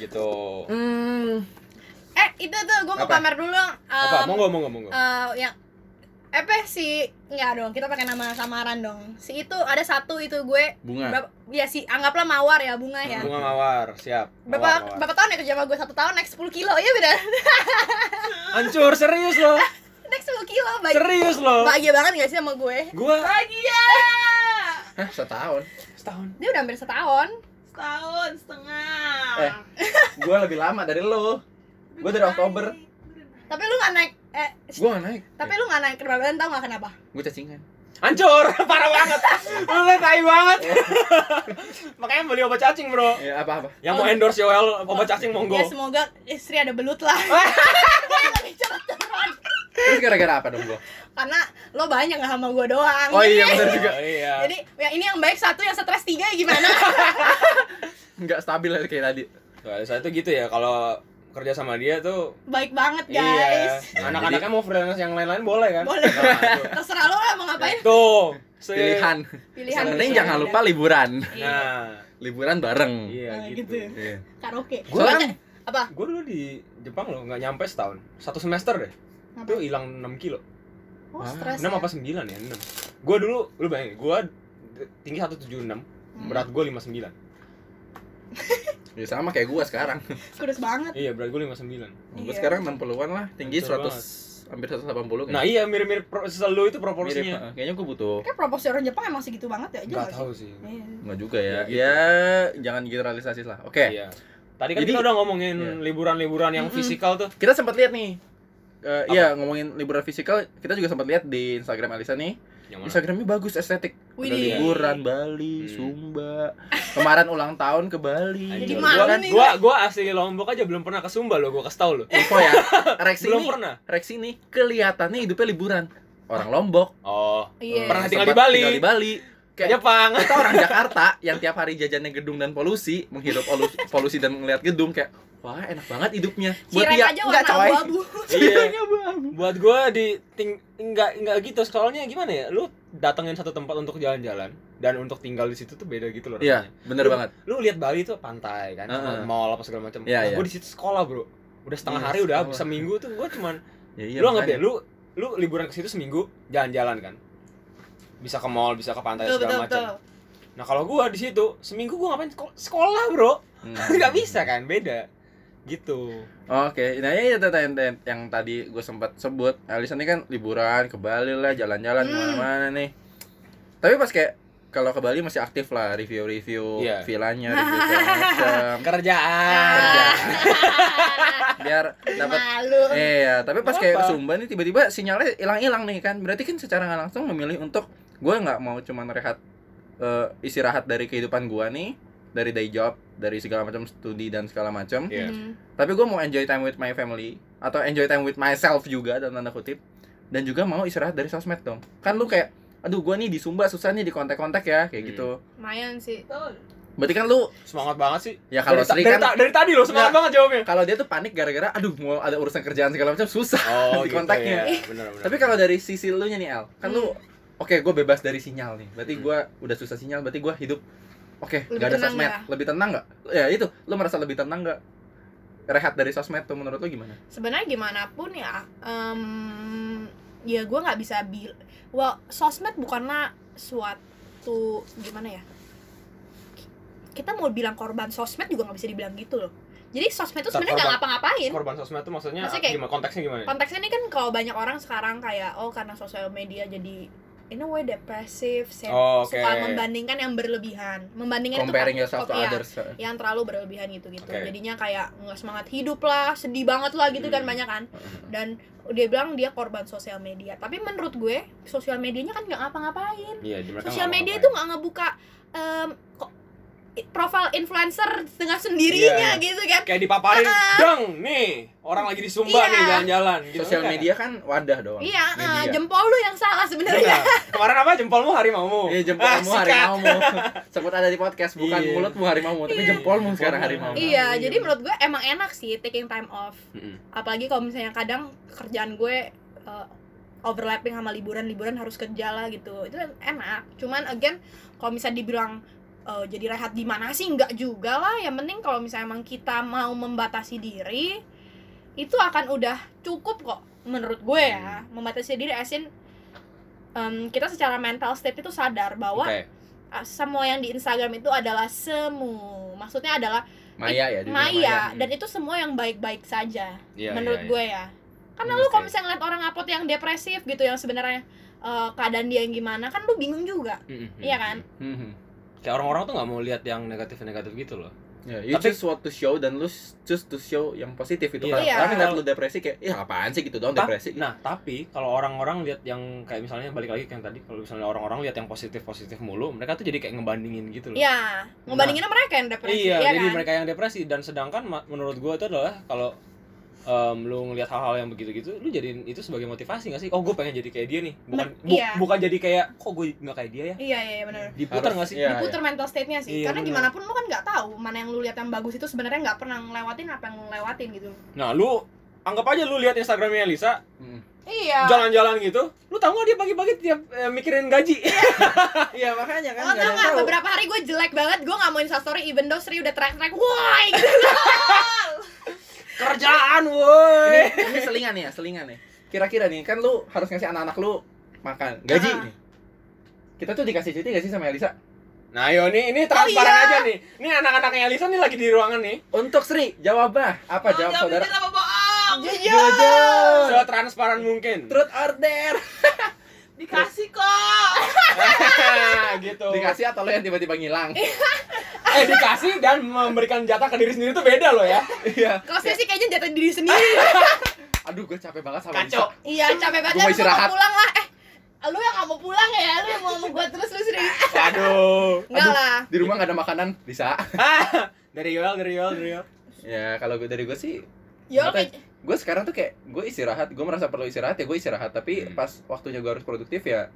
[SPEAKER 3] gitu
[SPEAKER 2] Hmm.
[SPEAKER 1] eh itu tuh gue mau
[SPEAKER 2] Apa?
[SPEAKER 1] pamer dulu
[SPEAKER 3] apa
[SPEAKER 1] em,
[SPEAKER 3] monggo monggo monggo
[SPEAKER 1] eh yang apa si nggak dong kita pakai nama samaran dong si itu ada satu itu gue
[SPEAKER 2] bunga
[SPEAKER 1] berapa, ya si anggaplah mawar ya bunga ya
[SPEAKER 3] bunga mawar siap Hmm. Mawar,
[SPEAKER 1] berapa
[SPEAKER 3] mawar.
[SPEAKER 1] berapa tahun ya kerja sama gue satu tahun naik 10 kilo ya beda
[SPEAKER 3] Hancur serius loh.
[SPEAKER 1] naik 10 kilo bahagia,
[SPEAKER 3] Serius loh.
[SPEAKER 1] bahagia banget gak sih sama gue
[SPEAKER 3] Gua
[SPEAKER 4] Bahagia.
[SPEAKER 2] Hah, setahun
[SPEAKER 3] setahun.
[SPEAKER 1] dia udah hampir setahun
[SPEAKER 4] Setahun setengah.
[SPEAKER 2] Eh, gue lebih lama dari lo gua dari Oktober.
[SPEAKER 1] tapi lu gak naik eh sh-
[SPEAKER 2] gue gak naik
[SPEAKER 1] tapi lu gak naik keberadaan tau gak kenapa
[SPEAKER 2] gue cacingan
[SPEAKER 3] Hancur, parah banget. Lu tai banget.
[SPEAKER 2] Iya.
[SPEAKER 3] Makanya beli obat cacing, Bro.
[SPEAKER 2] ya apa apa
[SPEAKER 3] Yang mau endorse Yoel obat cacing monggo.
[SPEAKER 1] ya semoga istri ada belut lah
[SPEAKER 2] Oh. terus gara-gara apa dong gue
[SPEAKER 1] karena lo banyak gak sama gue doang
[SPEAKER 2] oh iya benar juga
[SPEAKER 3] Oh, iya.
[SPEAKER 1] jadi ya ini yang baik satu yang stres tiga ya gimana
[SPEAKER 2] nggak stabil aja kayak tadi
[SPEAKER 3] Nah, saya tuh gitu ya kalau kerja sama dia tuh
[SPEAKER 1] baik banget
[SPEAKER 3] iya.
[SPEAKER 1] guys Nah,
[SPEAKER 2] Ya,
[SPEAKER 3] Anak-anaknya mau freelance yang lain-lain boleh kan?
[SPEAKER 1] boleh
[SPEAKER 3] Nah, tuh.
[SPEAKER 1] terserah lo lah mau ngapain
[SPEAKER 3] Tuh. Se-
[SPEAKER 2] pilihan yang
[SPEAKER 1] pilihan
[SPEAKER 3] Sebenarnya
[SPEAKER 2] penting
[SPEAKER 1] gitu.
[SPEAKER 2] jangan lupa liburan
[SPEAKER 1] Iya.
[SPEAKER 3] Nah,
[SPEAKER 2] liburan bareng
[SPEAKER 1] Nah,
[SPEAKER 3] iya
[SPEAKER 1] gitu.
[SPEAKER 3] gitu.
[SPEAKER 2] Iya.
[SPEAKER 1] karaoke
[SPEAKER 2] Gua
[SPEAKER 1] Soalnya
[SPEAKER 2] kan-
[SPEAKER 1] kayak- apa
[SPEAKER 3] Gue dulu di Jepang loh, nggak nyampe setahun. Satu semester deh.
[SPEAKER 1] Apa?
[SPEAKER 3] Itu hilang 6 kilo.
[SPEAKER 1] oh
[SPEAKER 2] Ah,
[SPEAKER 1] stres
[SPEAKER 3] 6
[SPEAKER 1] ya.
[SPEAKER 3] apa 9 ya? 6. Gua dulu lu bayangin, gua tinggi 176,
[SPEAKER 1] Hmm.
[SPEAKER 3] berat gua 59.
[SPEAKER 2] ya sama kayak gue sekarang
[SPEAKER 1] kurus banget
[SPEAKER 3] Iya, berat gua 59.
[SPEAKER 2] gue
[SPEAKER 1] Iya.
[SPEAKER 2] sekarang 60-an lah tinggi
[SPEAKER 3] Hancur
[SPEAKER 2] 100 hampir 180
[SPEAKER 3] Nah, iya mirip-mirip pro- selalu
[SPEAKER 2] Mirip,
[SPEAKER 3] itu proporsinya.
[SPEAKER 2] eh, kayaknya gue butuh
[SPEAKER 1] kan proporsi orang Jepang emang segitu banget ya aja
[SPEAKER 3] Enggak
[SPEAKER 1] nggak
[SPEAKER 3] tahu sih.
[SPEAKER 1] sih? Iya.
[SPEAKER 2] nggak juga ya
[SPEAKER 3] Ya,
[SPEAKER 2] ya,
[SPEAKER 3] gitu.
[SPEAKER 2] jangan generalisasi lah oke
[SPEAKER 3] Iya. Tadi kan
[SPEAKER 2] Jadi-
[SPEAKER 3] kita udah ngomongin
[SPEAKER 2] Iya.
[SPEAKER 3] liburan-liburan yang
[SPEAKER 2] Mm-mm.
[SPEAKER 3] fisikal tuh.
[SPEAKER 2] kita sempat lihat nih Eh,
[SPEAKER 3] Apa?
[SPEAKER 2] iya ngomongin liburan fisikal kita juga sempat lihat di Instagram Alisa nih
[SPEAKER 3] Yang mana?
[SPEAKER 2] Instagramnya bagus estetik Udah
[SPEAKER 1] Widih.
[SPEAKER 2] liburan Bali,
[SPEAKER 3] Hmm.
[SPEAKER 2] Sumba. Kemarin ulang tahun ke Bali.
[SPEAKER 3] Anjir.
[SPEAKER 1] Jadi
[SPEAKER 2] Gitu
[SPEAKER 1] mana
[SPEAKER 3] gua,
[SPEAKER 2] kan.
[SPEAKER 1] nih?
[SPEAKER 3] gua gua asli Lombok aja belum pernah ke Sumba loh, gua kasih tau loh.
[SPEAKER 2] Info ya. Rex
[SPEAKER 3] Belum
[SPEAKER 2] ini,
[SPEAKER 3] pernah.
[SPEAKER 2] Rex ini kelihatannya hidupnya liburan. Orang Lombok.
[SPEAKER 3] Oh,
[SPEAKER 1] Iya.
[SPEAKER 3] Pernah
[SPEAKER 2] eh,
[SPEAKER 3] tinggal
[SPEAKER 2] sempat
[SPEAKER 3] di Bali.
[SPEAKER 2] Tinggal di Bali.
[SPEAKER 3] ke
[SPEAKER 2] Kayak
[SPEAKER 3] Jepang.
[SPEAKER 2] kita orang Jakarta yang tiap hari jajannya gedung dan polusi, menghirup olu- polusi dan melihat gedung kayak wah enak banget hidupnya.
[SPEAKER 1] Cireng
[SPEAKER 2] dia,
[SPEAKER 1] aja
[SPEAKER 2] enggak,
[SPEAKER 1] warna
[SPEAKER 2] coy.
[SPEAKER 1] abu-abu
[SPEAKER 3] Iya.
[SPEAKER 2] Cirengnya abu-abu.
[SPEAKER 3] Buat gua di ting enggak enggak gitu. Soalnya gimana ya? Lu datengin satu tempat untuk jalan-jalan dan untuk tinggal di situ tuh beda gitu loh
[SPEAKER 2] Iya,
[SPEAKER 3] rasanya.
[SPEAKER 2] bener
[SPEAKER 3] Lu-
[SPEAKER 2] banget.
[SPEAKER 3] Lu lihat Bali tuh pantai kan,
[SPEAKER 2] Heeh.
[SPEAKER 3] mall apa segala macam.
[SPEAKER 2] Iya,
[SPEAKER 3] nah,
[SPEAKER 2] iya.
[SPEAKER 3] gua di situ sekolah, Bro. Udah
[SPEAKER 2] Iya,
[SPEAKER 3] setengah hari udah habis
[SPEAKER 2] sekolah.
[SPEAKER 3] seminggu tuh gua cuman
[SPEAKER 2] Ya, iya,
[SPEAKER 3] lu anggap
[SPEAKER 2] makanya.
[SPEAKER 3] deh lu lu liburan ke situ seminggu jalan-jalan kan bisa ke mall bisa ke pantai
[SPEAKER 1] betul betul
[SPEAKER 3] segala
[SPEAKER 1] betul
[SPEAKER 3] macam nah kalau gua di situ seminggu gua ngapain Seko- sekolah bro
[SPEAKER 2] Hmm.
[SPEAKER 3] nggak bisa kan beda gitu
[SPEAKER 2] Oke, nah ini itu yang, yang- yang tadi gue sempat sebut. Alisa ini kan liburan ke Bali lah, jalan-jalan
[SPEAKER 1] Hmm.
[SPEAKER 2] kemana-mana nih. Tapi pas kayak kalau ke Bali masih aktif lah review-review
[SPEAKER 3] Iya.
[SPEAKER 2] villanya, review segala macam.
[SPEAKER 1] Ah.
[SPEAKER 3] kerjaan
[SPEAKER 2] Biar dapat
[SPEAKER 1] malu
[SPEAKER 2] Eh ya, tapi pas
[SPEAKER 3] Nggak
[SPEAKER 2] kayak ke
[SPEAKER 3] apa.
[SPEAKER 2] Sumba nih tiba-tiba sinyalnya hilang-hilang nih kan. Berarti kan secara nggak langsung memilih untuk gue nggak mau cuman rehat eh, istirahat dari kehidupan gua nih, dari day job, dari segala macam studi dan segala macam
[SPEAKER 3] Iya.
[SPEAKER 1] Hmm.
[SPEAKER 2] tapi gue mau enjoy time with my family atau enjoy time with myself juga dalam tanda kutip dan juga mau istirahat dari sosmed dong kan lu kayak aduh gue nih di Sumba susah nih di kontak-kontak ya kayak
[SPEAKER 3] Hmm.
[SPEAKER 2] gitu
[SPEAKER 1] lumayan sih
[SPEAKER 4] Betul.
[SPEAKER 2] Berarti kan lu
[SPEAKER 3] Semangat banget sih.
[SPEAKER 2] ya kalau
[SPEAKER 3] dari, ta-
[SPEAKER 2] Sri
[SPEAKER 3] dari,
[SPEAKER 2] kan
[SPEAKER 3] ta- dari tadi loh semangat banget jawabnya.
[SPEAKER 2] kalau dia tuh panik gara-gara aduh mau ada urusan kerjaan segala macam susah.
[SPEAKER 3] Oh,
[SPEAKER 2] Di kontaknya.
[SPEAKER 3] Ya. Bener, bener.
[SPEAKER 2] gitu Tapi kalau dari sisi lu nya nih El, kan lu oke gue bebas dari sinyal nih. Berarti
[SPEAKER 3] Hmm.
[SPEAKER 2] gue udah susah sinyal, berarti gue hidup oke
[SPEAKER 1] Lebih
[SPEAKER 2] nggak ada
[SPEAKER 1] tenang
[SPEAKER 2] sosmed.
[SPEAKER 1] nggak?
[SPEAKER 2] Lebih tenang nggak? Ya itu, lu merasa lebih tenang nggak? Rehat dari sosmed tuh menurut lu gimana?
[SPEAKER 1] sebenarnya gimana pun ya em, ya gue nggak bisa bil well sosmed bukanlah suatu gimana ya kita mau bilang korban sosmed juga nggak bisa dibilang gitu loh jadi sosmed itu sebenarnya nggak
[SPEAKER 3] Korban-
[SPEAKER 1] ngapa-ngapain
[SPEAKER 3] korban sosmed tuh maksudnya,
[SPEAKER 1] Maksudnya kayak-
[SPEAKER 3] gimana konteksnya gimana? nih?
[SPEAKER 1] konteksnya ini kan kalau banyak orang sekarang kayak oh karena sosial media jadi in a way depresif sad-
[SPEAKER 3] Oh, oke.
[SPEAKER 1] suka membandingkan yang berlebihan membandingkan itu
[SPEAKER 2] Comparing
[SPEAKER 1] kan-
[SPEAKER 2] yourself to
[SPEAKER 1] iya,
[SPEAKER 2] others.
[SPEAKER 1] yang terlalu berlebihan gitu gitu
[SPEAKER 3] Oke.
[SPEAKER 1] jadinya kayak nggak semangat hidup lah sedih banget lah gitu kan
[SPEAKER 3] Hmm.
[SPEAKER 1] banyak kan dan dia bilang dia korban sosial media tapi menurut gue sosial medianya kan nggak ngapa-ngapain
[SPEAKER 3] Iya, di mereka
[SPEAKER 1] sosial
[SPEAKER 3] nggak
[SPEAKER 1] media
[SPEAKER 3] ngapa-ngapain.
[SPEAKER 1] itu nggak ngebuka em, ko- i- profil influencer dengan sendirinya
[SPEAKER 3] Iya,
[SPEAKER 1] gitu kan
[SPEAKER 3] kayak dipaparin,
[SPEAKER 1] Ah.
[SPEAKER 3] dang nih orang lagi di Sumba
[SPEAKER 1] Iya.
[SPEAKER 3] nih jalan-jalan. Gitu
[SPEAKER 2] Sosial
[SPEAKER 3] kan?
[SPEAKER 2] media kan wadah doang.
[SPEAKER 1] iya eh,
[SPEAKER 2] media.
[SPEAKER 1] jempol lu yang salah sebenarnya
[SPEAKER 3] Bener. Iya. Kemarin apa jempolmu harimaumu?
[SPEAKER 2] Iya jempol
[SPEAKER 3] Ah,
[SPEAKER 2] kamu
[SPEAKER 3] sikat.
[SPEAKER 2] harimaumu Sebut ada di podcast bukan
[SPEAKER 3] Iya.
[SPEAKER 2] mulutmu harimaumu tapi
[SPEAKER 1] Iya.
[SPEAKER 2] jempolmu sekarang harimaumu.
[SPEAKER 3] Jempolmu.
[SPEAKER 1] iya
[SPEAKER 3] Iya.
[SPEAKER 1] jadi menurut gue emang enak sih taking time off
[SPEAKER 3] Mm-mm.
[SPEAKER 1] apalagi kalau misalnya kadang kerjaan gue eh, overlapping sama liburan liburan harus kerja lah gitu itu enak cuman again kalau misalnya dibilang eh, jadi rehat di mana sih enggak juga lah yang penting kalau misalnya emang kita mau membatasi diri itu akan udah cukup kok menurut gue ya membatasi diri asin kita secara mental state itu sadar bahwa
[SPEAKER 3] Oke. Iya,
[SPEAKER 1] eh, semua yang di Instagram itu adalah semu maksudnya adalah
[SPEAKER 2] Maya ya di dunia
[SPEAKER 1] maya
[SPEAKER 2] Hmm.
[SPEAKER 1] dan itu semua yang baik-baik saja
[SPEAKER 3] Iya,
[SPEAKER 1] menurut
[SPEAKER 3] iya,
[SPEAKER 1] gue ya karena
[SPEAKER 3] Hmm,
[SPEAKER 1] lu kalau
[SPEAKER 3] oke.
[SPEAKER 1] misalnya ngeliat orang upload yang depresif gitu yang sebenarnya eh, keadaan dia yang gimana kan lu bingung juga
[SPEAKER 3] iya. Mm-mm.
[SPEAKER 1] Iya kan?
[SPEAKER 2] Mhm.
[SPEAKER 3] Kayak orang-orang tuh nggak mau lihat yang negatif-negatif gitu loh.
[SPEAKER 2] Ya, you
[SPEAKER 3] Tapi-
[SPEAKER 2] choose what to show dan lu choose to show yang positif itu
[SPEAKER 3] Iya.
[SPEAKER 2] kan.
[SPEAKER 1] Iya.
[SPEAKER 2] Orang ngeliat lu depresi kayak, "Ih, apaan sih gitu doang
[SPEAKER 3] Ta-
[SPEAKER 2] depresi."
[SPEAKER 3] Nah, tapi kalau orang-orang lihat yang kayak misalnya balik lagi ke yang tadi, kalau misalnya orang-orang lihat yang positif-positif mulu, mereka tuh jadi kayak ngebandingin gitu loh.
[SPEAKER 1] ya ngebandinginnya mereka yang depresif
[SPEAKER 3] iya,
[SPEAKER 1] ya
[SPEAKER 3] jadi
[SPEAKER 1] kan
[SPEAKER 3] mereka yang depresi dan sedangkan ma- menurut gua itu adalah kalau em, lu ngelihat hal-hal yang begitu-gitu, lu jadiin itu sebagai motivasi gak sih? Oh, gue pengen jadi kayak dia nih. Bukan
[SPEAKER 1] Men-
[SPEAKER 3] bu-
[SPEAKER 1] iya.
[SPEAKER 3] bukan jadi kayak kok gue nggak kayak dia ya?
[SPEAKER 1] iya iya benar
[SPEAKER 3] Diputar
[SPEAKER 2] Harus-
[SPEAKER 3] gak sih?
[SPEAKER 2] iya,
[SPEAKER 1] diputer mental state-nya sih
[SPEAKER 3] Iya,
[SPEAKER 1] karena
[SPEAKER 3] bener.
[SPEAKER 1] gimana pun lu kan nggak tahu mana yang lu lihat yang bagus itu sebenarnya nggak pernah ngelewatin apa yang lu lewatin gitu
[SPEAKER 3] Nah, lu anggap aja lu lihat Instagramnya Lisa
[SPEAKER 2] Mhm.
[SPEAKER 1] iya
[SPEAKER 3] jalan-jalan gitu, lu tahu gak dia pagi-pagi tiap eh, mikirin gaji?
[SPEAKER 2] Iya, makanya kan
[SPEAKER 1] Lo
[SPEAKER 2] nggak ada
[SPEAKER 1] tau
[SPEAKER 2] yang
[SPEAKER 1] gak,
[SPEAKER 2] tahu.
[SPEAKER 1] beberapa hari gue jelek banget, gue gak mau instastory even though Sri udah track-track Woi, gitu
[SPEAKER 3] Kerjaan, woi.
[SPEAKER 2] Ini, ini selingan nih ya, selingan nih. Kira-kira nih kan lu harus ngasih anak-anak lu makan, gaji
[SPEAKER 1] Ah.
[SPEAKER 2] nih. Kita tuh dikasih cuti gak sih sama Elisa?
[SPEAKER 3] Nah, yo nih ini transparan
[SPEAKER 1] iya.
[SPEAKER 3] aja nih. Ini anak-anaknya Elisa nih lagi di ruangan nih.
[SPEAKER 2] Untuk Sri, jawabnya apa? jawab
[SPEAKER 4] Jangan
[SPEAKER 2] saudara.
[SPEAKER 4] bikin apa bohong.
[SPEAKER 1] Iya.
[SPEAKER 2] Jujur.
[SPEAKER 3] Setransparan mungkin.
[SPEAKER 2] Truth order.
[SPEAKER 4] Dikasih kok.
[SPEAKER 3] gitu.
[SPEAKER 2] Dikasih atau lu yang tiba-tiba ngilang?
[SPEAKER 3] Eh, dikasih dan memberikan jatah ke diri sendiri tuh beda loh ya.
[SPEAKER 2] Iya.
[SPEAKER 1] Kalau saya sih kayaknya jatuh diri sendiri
[SPEAKER 2] Aduh, gue capek banget sama
[SPEAKER 3] Kacau.
[SPEAKER 2] Elisa.
[SPEAKER 1] Iya, capek
[SPEAKER 2] Gua mau
[SPEAKER 1] banget, lu
[SPEAKER 2] istirahat.
[SPEAKER 1] mau pulang lah Eh, lu yang gak mau pulang ya, lu yang mau sama gue terus lu Sri
[SPEAKER 3] Waduh.
[SPEAKER 1] Enggak
[SPEAKER 2] Aduh.
[SPEAKER 1] lah
[SPEAKER 2] Di rumah gak ada makanan, Lisa.
[SPEAKER 3] Ah, dari Yoel, dari Yoel, dari Yoel.
[SPEAKER 2] Ya, kalau gue dari gue sih
[SPEAKER 1] Yo,
[SPEAKER 2] Mata-
[SPEAKER 1] kayak-
[SPEAKER 2] gue sekarang tuh kayak gue istirahat gue merasa perlu istirahat ya gue istirahat tapi
[SPEAKER 3] Hmm.
[SPEAKER 2] pas waktunya gue harus produktif ya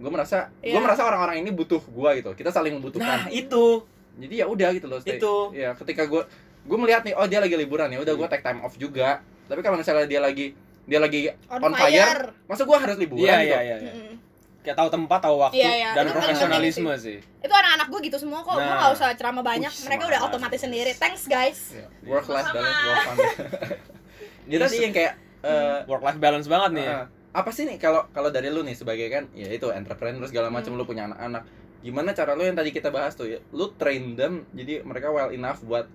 [SPEAKER 2] gue merasa gue
[SPEAKER 1] Iya.
[SPEAKER 2] merasa orang-orang ini butuh gue gitu kita saling
[SPEAKER 3] Nah,
[SPEAKER 2] membutuhkan
[SPEAKER 3] itu,
[SPEAKER 2] jadi ya udah gitu loh stay.
[SPEAKER 3] itu.
[SPEAKER 2] ya ketika gue gue melihat nih oh dia lagi liburan ya udah gue take time off juga tapi kalau misalnya dia lagi dia lagi
[SPEAKER 1] on,
[SPEAKER 2] On fire.
[SPEAKER 1] fire.
[SPEAKER 2] masa gue harus liburan
[SPEAKER 3] Iya,
[SPEAKER 2] gitu
[SPEAKER 3] iya, iya. iya.
[SPEAKER 1] Mm-mm.
[SPEAKER 3] Kayak tahu tempat, tahu waktu
[SPEAKER 1] Iya, iya.
[SPEAKER 3] dan
[SPEAKER 1] Itu paling
[SPEAKER 3] profesionalisme sih.
[SPEAKER 1] Itu anak-anak gue gitu semua kok, gue
[SPEAKER 3] Nah.
[SPEAKER 1] gak usah ceramah banyak
[SPEAKER 3] Wih,
[SPEAKER 1] Mereka udah
[SPEAKER 3] semangat.
[SPEAKER 1] otomatis sendiri, thanks guys
[SPEAKER 2] Ya, work life
[SPEAKER 4] Sama-sama.
[SPEAKER 2] balance work fun
[SPEAKER 3] Jadi
[SPEAKER 2] jadi Iya sih yang kayak eh,
[SPEAKER 3] work life balance banget nih.
[SPEAKER 2] eh, apa sih nih kalau kalau dari lu nih sebagai kan ya itu entrepreneur segala macam lu punya anak-anak gimana cara lu yang tadi kita bahas tuh ya lu train them jadi mereka well enough buat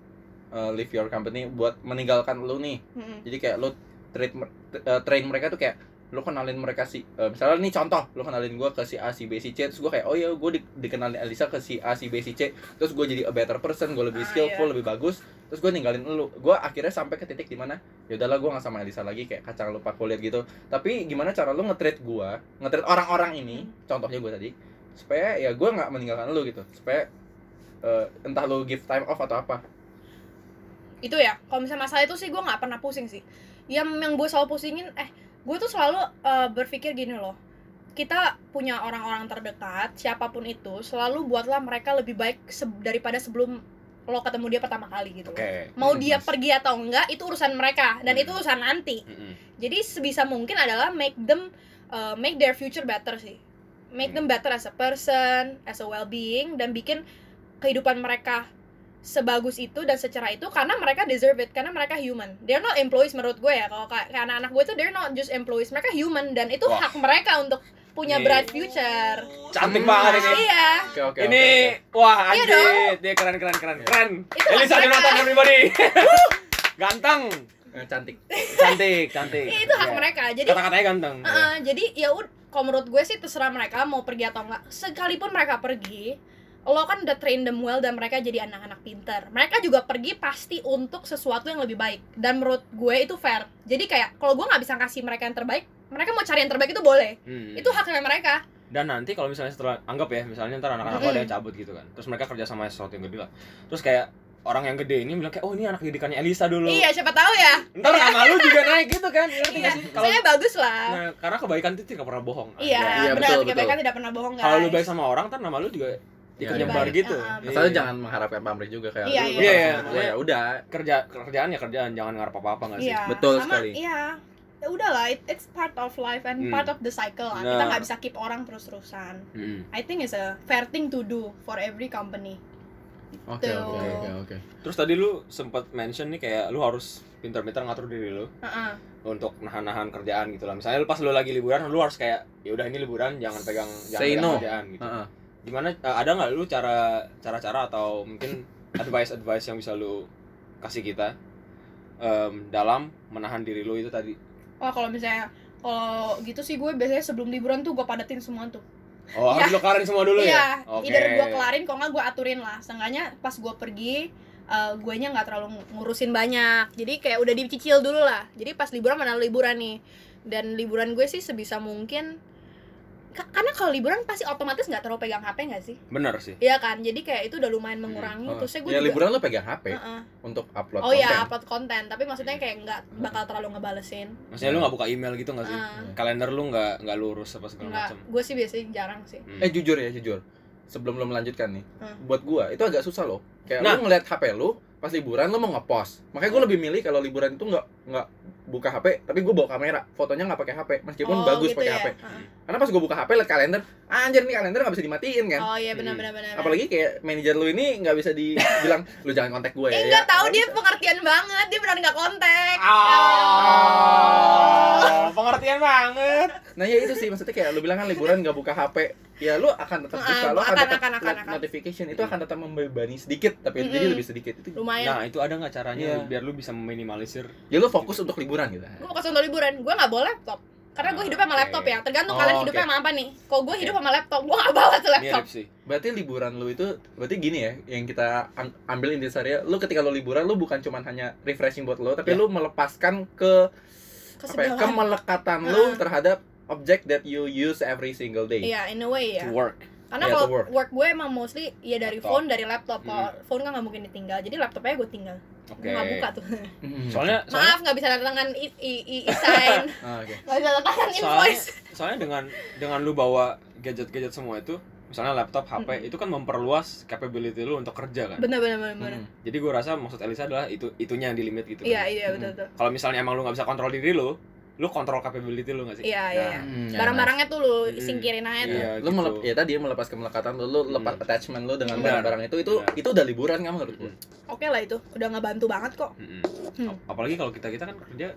[SPEAKER 2] eh, leave your company buat meninggalkan lu nih
[SPEAKER 1] Mm-mm.
[SPEAKER 2] jadi kayak lu treat mer- t- eh, train mereka tuh kayak lu kenalin mereka si eh, misalnya nih contoh lu kenalin gua ke si A si B si C terus gua kayak oh ya gua di- dikenalin Elisa ke si A si B si C terus gua jadi a better person gua lebih
[SPEAKER 1] Ah,
[SPEAKER 2] skillful lebih bagus terus gua ninggalin lu gua akhirnya sampai ke titik dimana ya udahlah gua nggak sama Elisa lagi kayak kacang lupa kulit gitu tapi gimana cara lu nge-treat gua nge-treat orang-orang ini contohnya gua tadi supaya ya gua nggak meninggalkan lu gitu supaya eh, entah lu give time off atau apa
[SPEAKER 1] Itu ya, kalau misalnya masalah itu sih gue gak pernah pusing sih Yang, yang gue selalu pusingin, eh Gue tuh selalu eh, berpikir gini loh kita punya orang-orang terdekat siapapun itu selalu buatlah mereka lebih baik se- daripada sebelum lo ketemu dia pertama kali gitu
[SPEAKER 2] Oke.
[SPEAKER 1] mau
[SPEAKER 2] Hmm,
[SPEAKER 1] dia
[SPEAKER 2] Mas.
[SPEAKER 1] pergi atau enggak itu urusan mereka dan
[SPEAKER 3] Hmm.
[SPEAKER 1] itu urusan nanti
[SPEAKER 3] Mm-mm.
[SPEAKER 1] jadi sebisa mungkin adalah make them uh, make their future better sih make them better as a person as a well being dan bikin kehidupan mereka sebagus itu dan secara itu karena mereka deserve it karena mereka human they're not employees menurut gue ya kalau kayak kayak anak-anak gue itu they're not just employees mereka human dan itu
[SPEAKER 3] Wah.
[SPEAKER 1] hak mereka untuk punya
[SPEAKER 3] Iya.
[SPEAKER 1] bright future
[SPEAKER 2] Hmm.
[SPEAKER 3] Cantik banget ini.
[SPEAKER 1] iya
[SPEAKER 2] Oke oke.
[SPEAKER 3] ini
[SPEAKER 2] oke,
[SPEAKER 3] wah
[SPEAKER 1] Iya
[SPEAKER 3] anjir, dia keren keren keren
[SPEAKER 2] Iya.
[SPEAKER 3] keren.
[SPEAKER 1] Itu
[SPEAKER 3] Elisa
[SPEAKER 1] hak mereka.
[SPEAKER 3] Jonathan everybody. ganteng,
[SPEAKER 2] oke. Eh, Cantik.
[SPEAKER 3] cantik, cantik.
[SPEAKER 1] Iya, itu hak
[SPEAKER 3] Iya.
[SPEAKER 1] mereka jadi
[SPEAKER 3] Kata-katanya ganteng. Iya.
[SPEAKER 1] Heeh, jadi ya ud- kalau menurut gue sih terserah mereka mau pergi atau enggak. Sekalipun mereka pergi, lo kan udah train them well dan mereka jadi anak-anak pinter. Mereka juga pergi pasti untuk sesuatu yang lebih baik. Dan menurut gue itu fair. Jadi kayak kalau gue nggak bisa kasih mereka yang terbaik, mereka mau cari yang terbaik itu boleh.
[SPEAKER 3] Hmm.
[SPEAKER 1] Itu haknya mereka.
[SPEAKER 3] dan nanti kalau misalnya setelah anggap ya misalnya ntar anak-anak
[SPEAKER 1] Hmm.
[SPEAKER 3] lo ada yang cabut gitu kan terus mereka kerja sama sesuatu yang gede lah terus kayak orang yang gede ini bilang kayak oh ini anak didikannya Elisa dulu
[SPEAKER 1] Iya, siapa tahu ya.
[SPEAKER 3] ntar sama lu juga naik gitu kan ngerti
[SPEAKER 1] Iya,
[SPEAKER 3] gak sih kalau
[SPEAKER 1] Saya bagus lah.
[SPEAKER 3] nah, karena kebaikan itu tidak pernah bohong
[SPEAKER 1] Iya,
[SPEAKER 2] Iya,
[SPEAKER 1] benar.
[SPEAKER 2] betul,
[SPEAKER 1] Kebaikan
[SPEAKER 2] betul.
[SPEAKER 1] tidak pernah bohong, guys.
[SPEAKER 3] kalau lu baik sama orang ntar nama lu juga
[SPEAKER 2] Iya,
[SPEAKER 3] ikut
[SPEAKER 2] iya.
[SPEAKER 3] nyebar
[SPEAKER 1] Baik,
[SPEAKER 3] gitu
[SPEAKER 1] uh-uh.
[SPEAKER 2] Masalahnya jangan mengharapkan pamrih juga kayak
[SPEAKER 1] Iya,
[SPEAKER 2] lu- lu
[SPEAKER 1] iya.
[SPEAKER 2] harus
[SPEAKER 1] Iya,
[SPEAKER 2] menurut gue,
[SPEAKER 3] iya.
[SPEAKER 2] ya udah.
[SPEAKER 3] kerja kerjaan ya kerjaan jangan ngarep apa apa nggak sih
[SPEAKER 1] Iya,
[SPEAKER 2] Betul
[SPEAKER 1] sama-
[SPEAKER 2] sekali.
[SPEAKER 1] Iya. Ya udah lah, it- it's part of life
[SPEAKER 3] Hmm.
[SPEAKER 1] and part of the cycle lah. Kita
[SPEAKER 3] Benar.
[SPEAKER 1] nggak bisa keep orang terus-terusan.
[SPEAKER 3] Mm.
[SPEAKER 1] I think it's a fair thing to do for every company.
[SPEAKER 2] Oke
[SPEAKER 1] Betul.
[SPEAKER 2] oke oke oke.
[SPEAKER 3] terus tadi lu sempat mention nih kayak lu harus pintar-pintar ngatur diri lu
[SPEAKER 1] Heeh.
[SPEAKER 3] untuk nahan-nahan kerjaan gitu lah misalnya lu pas lu lagi liburan lu harus kayak ya udah ini liburan jangan pegang jangan
[SPEAKER 2] Say
[SPEAKER 3] pegang
[SPEAKER 2] no. Nah.
[SPEAKER 3] kerjaan gitu
[SPEAKER 2] Heeh.
[SPEAKER 3] gimana eh, ada nggak lu cara cara cara atau mungkin advice advice yang bisa lu kasih kita em, dalam menahan diri lu itu tadi
[SPEAKER 1] Wah kalau misalnya kalau gitu sih gue biasanya sebelum liburan tuh gue padatin semua tuh.
[SPEAKER 3] oh harus lu kelarin semua dulu ya
[SPEAKER 1] Iya,
[SPEAKER 3] Oke.
[SPEAKER 1] either gue kelarin, kalau nggak gue aturin lah. Seenggaknya pas gue pergi, gue nya nggak terlalu ngurusin banyak. Jadi kayak udah dicicil dulu lah. Jadi pas liburan mana liburan nih. Dan liburan gue sih sebisa mungkin. ka- Karena kalau liburan pasti otomatis nggak terlalu pegang HP nggak sih?
[SPEAKER 3] bener sih
[SPEAKER 1] Iya kan, jadi kayak itu udah lumayan mengurangi.
[SPEAKER 3] Hmm.
[SPEAKER 2] Heeh.
[SPEAKER 1] Terus gue
[SPEAKER 2] Ya
[SPEAKER 1] juga.
[SPEAKER 2] liburan lu pegang HP
[SPEAKER 1] Heeh.
[SPEAKER 2] untuk upload
[SPEAKER 1] Oh
[SPEAKER 2] konten.
[SPEAKER 1] iya, upload konten. Tapi maksudnya kayak nggak bakal terlalu ngebalesin.
[SPEAKER 3] maksudnya
[SPEAKER 2] Iya.
[SPEAKER 3] lu nggak buka email gitu nggak sih
[SPEAKER 1] Heeh.
[SPEAKER 3] kalender lu nggak nggak lurus apa segala
[SPEAKER 1] Enggak,
[SPEAKER 3] macam
[SPEAKER 1] gue sih biasanya jarang sih.
[SPEAKER 3] Hmm.
[SPEAKER 2] Eh jujur ya jujur. Sebelum lu melanjutkan nih,
[SPEAKER 1] Hmm.
[SPEAKER 2] buat gua itu agak susah loh. Kayak
[SPEAKER 3] Nah.
[SPEAKER 2] lu ngeliat HP lu pas liburan lu mau ngepost. Makanya gua lebih milih kalau liburan itu nggak nggak buka HP, tapi gua bawa kamera. Fotonya nggak pakai HP, meskipun
[SPEAKER 1] Oh,
[SPEAKER 2] bagus
[SPEAKER 1] gitu
[SPEAKER 2] pakai HP.
[SPEAKER 1] Heeh.
[SPEAKER 2] Karena pas gua buka HP liat kalender, ah, anjir nih kalender nggak bisa dimatiin kan.
[SPEAKER 1] Oh iya benar
[SPEAKER 3] Hmm.
[SPEAKER 1] benar benar. benar.
[SPEAKER 2] Apalagi kayak manajer lu ini nggak bisa dibilang lu jangan kontak gue
[SPEAKER 1] eh
[SPEAKER 2] ya.
[SPEAKER 1] nggak
[SPEAKER 2] ya.
[SPEAKER 1] tahu dia pengertian banget, dia benar nggak kontak. Ya Oh.
[SPEAKER 3] Ah, pengertian banget
[SPEAKER 2] Nah ya itu sih maksudnya kayak lu bilang kan liburan nggak buka HP, ya lu akan tetap
[SPEAKER 1] Ah,
[SPEAKER 2] buka, lu akan,
[SPEAKER 1] akan,
[SPEAKER 2] tetap
[SPEAKER 1] akan, akan,
[SPEAKER 2] liat
[SPEAKER 1] akan.
[SPEAKER 2] notification itu akan tetap membebani sedikit, tapi jadi
[SPEAKER 1] Mm-mm.
[SPEAKER 2] lebih sedikit itu.
[SPEAKER 1] Lumayan.
[SPEAKER 3] nah itu ada nggak caranya
[SPEAKER 2] Iya.
[SPEAKER 3] biar lu bisa meminimalisir
[SPEAKER 2] Ya lu fokus untuk liburan gitu.
[SPEAKER 1] Gue fokus untuk liburan, gue nggak bawa laptop. Karena gue
[SPEAKER 3] Ah,
[SPEAKER 1] hidupnya sama
[SPEAKER 3] oke.
[SPEAKER 1] laptop ya. Tergantung
[SPEAKER 2] Oh,
[SPEAKER 1] kalian hidupnya
[SPEAKER 2] oke.
[SPEAKER 1] sama apa nih. Kalau gue hidup sama laptop, gue nggak bawa tuh laptop.
[SPEAKER 3] mirip sih
[SPEAKER 2] Berarti liburan lu itu berarti gini ya, yang kita am- ambil intisarinya, lu ketika lu liburan lu bukan cuman hanya refreshing buat lu, tapi
[SPEAKER 3] Ya.
[SPEAKER 1] Iya.
[SPEAKER 2] lu melepaskan ke apa ya,
[SPEAKER 1] Kesegawan.
[SPEAKER 2] kemelekatan lu terhadap objek that you use every single day.
[SPEAKER 1] Ah. Iya, in a way
[SPEAKER 3] to
[SPEAKER 1] ya.
[SPEAKER 3] work
[SPEAKER 2] Iya,
[SPEAKER 1] Karena kalau
[SPEAKER 2] to work.
[SPEAKER 1] work. gue emang mostly ya dari
[SPEAKER 3] Laptop.
[SPEAKER 1] phone, dari laptop. Kalau phone kan nggak mungkin ditinggal, jadi laptopnya gue tinggal.
[SPEAKER 3] oke
[SPEAKER 1] Gue nggak buka tuh.
[SPEAKER 2] Hmm.
[SPEAKER 3] soalnya soalnya
[SPEAKER 1] Maaf nggak bisa tanda tangan i, i, i, sign,
[SPEAKER 2] Ah, oke.
[SPEAKER 1] nggak bisa tanda tangan
[SPEAKER 3] soalnya
[SPEAKER 1] invoice.
[SPEAKER 3] soalnya dengan dengan lu bawa gadget-gadget semua itu misalnya laptop HP
[SPEAKER 1] Mm-mm.
[SPEAKER 3] itu kan memperluas capability lu untuk kerja kan
[SPEAKER 1] Bener bener bener. bener.
[SPEAKER 2] Hmm.
[SPEAKER 3] jadi gue rasa maksud Elisa adalah itu itunya yang di limit gitu kan.
[SPEAKER 1] Iya iya betul betul.
[SPEAKER 3] kalau misalnya emang lu nggak bisa kontrol diri lu lu kontrol capability lu nggak sih Nah,
[SPEAKER 1] Iya iya. iya.
[SPEAKER 2] Hmm, ya,
[SPEAKER 1] Barang-barangnya tuh lu
[SPEAKER 3] Mm-mm.
[SPEAKER 1] singkirin aja tuh.
[SPEAKER 2] lu
[SPEAKER 3] Iya, gitu. Hmm.
[SPEAKER 2] melep- ya tadi ya, melepas kemelekatan lu, lu lepas attachment lu dengan
[SPEAKER 3] Benar.
[SPEAKER 2] barang-barang itu itu
[SPEAKER 3] Benar.
[SPEAKER 2] itu udah liburan kan menurut gua.
[SPEAKER 1] Oke lah itu, udah ngebantu banget kok.
[SPEAKER 3] Mm-mm.
[SPEAKER 1] Hmm.
[SPEAKER 3] Ap- apalagi kalau kita kita kan kerja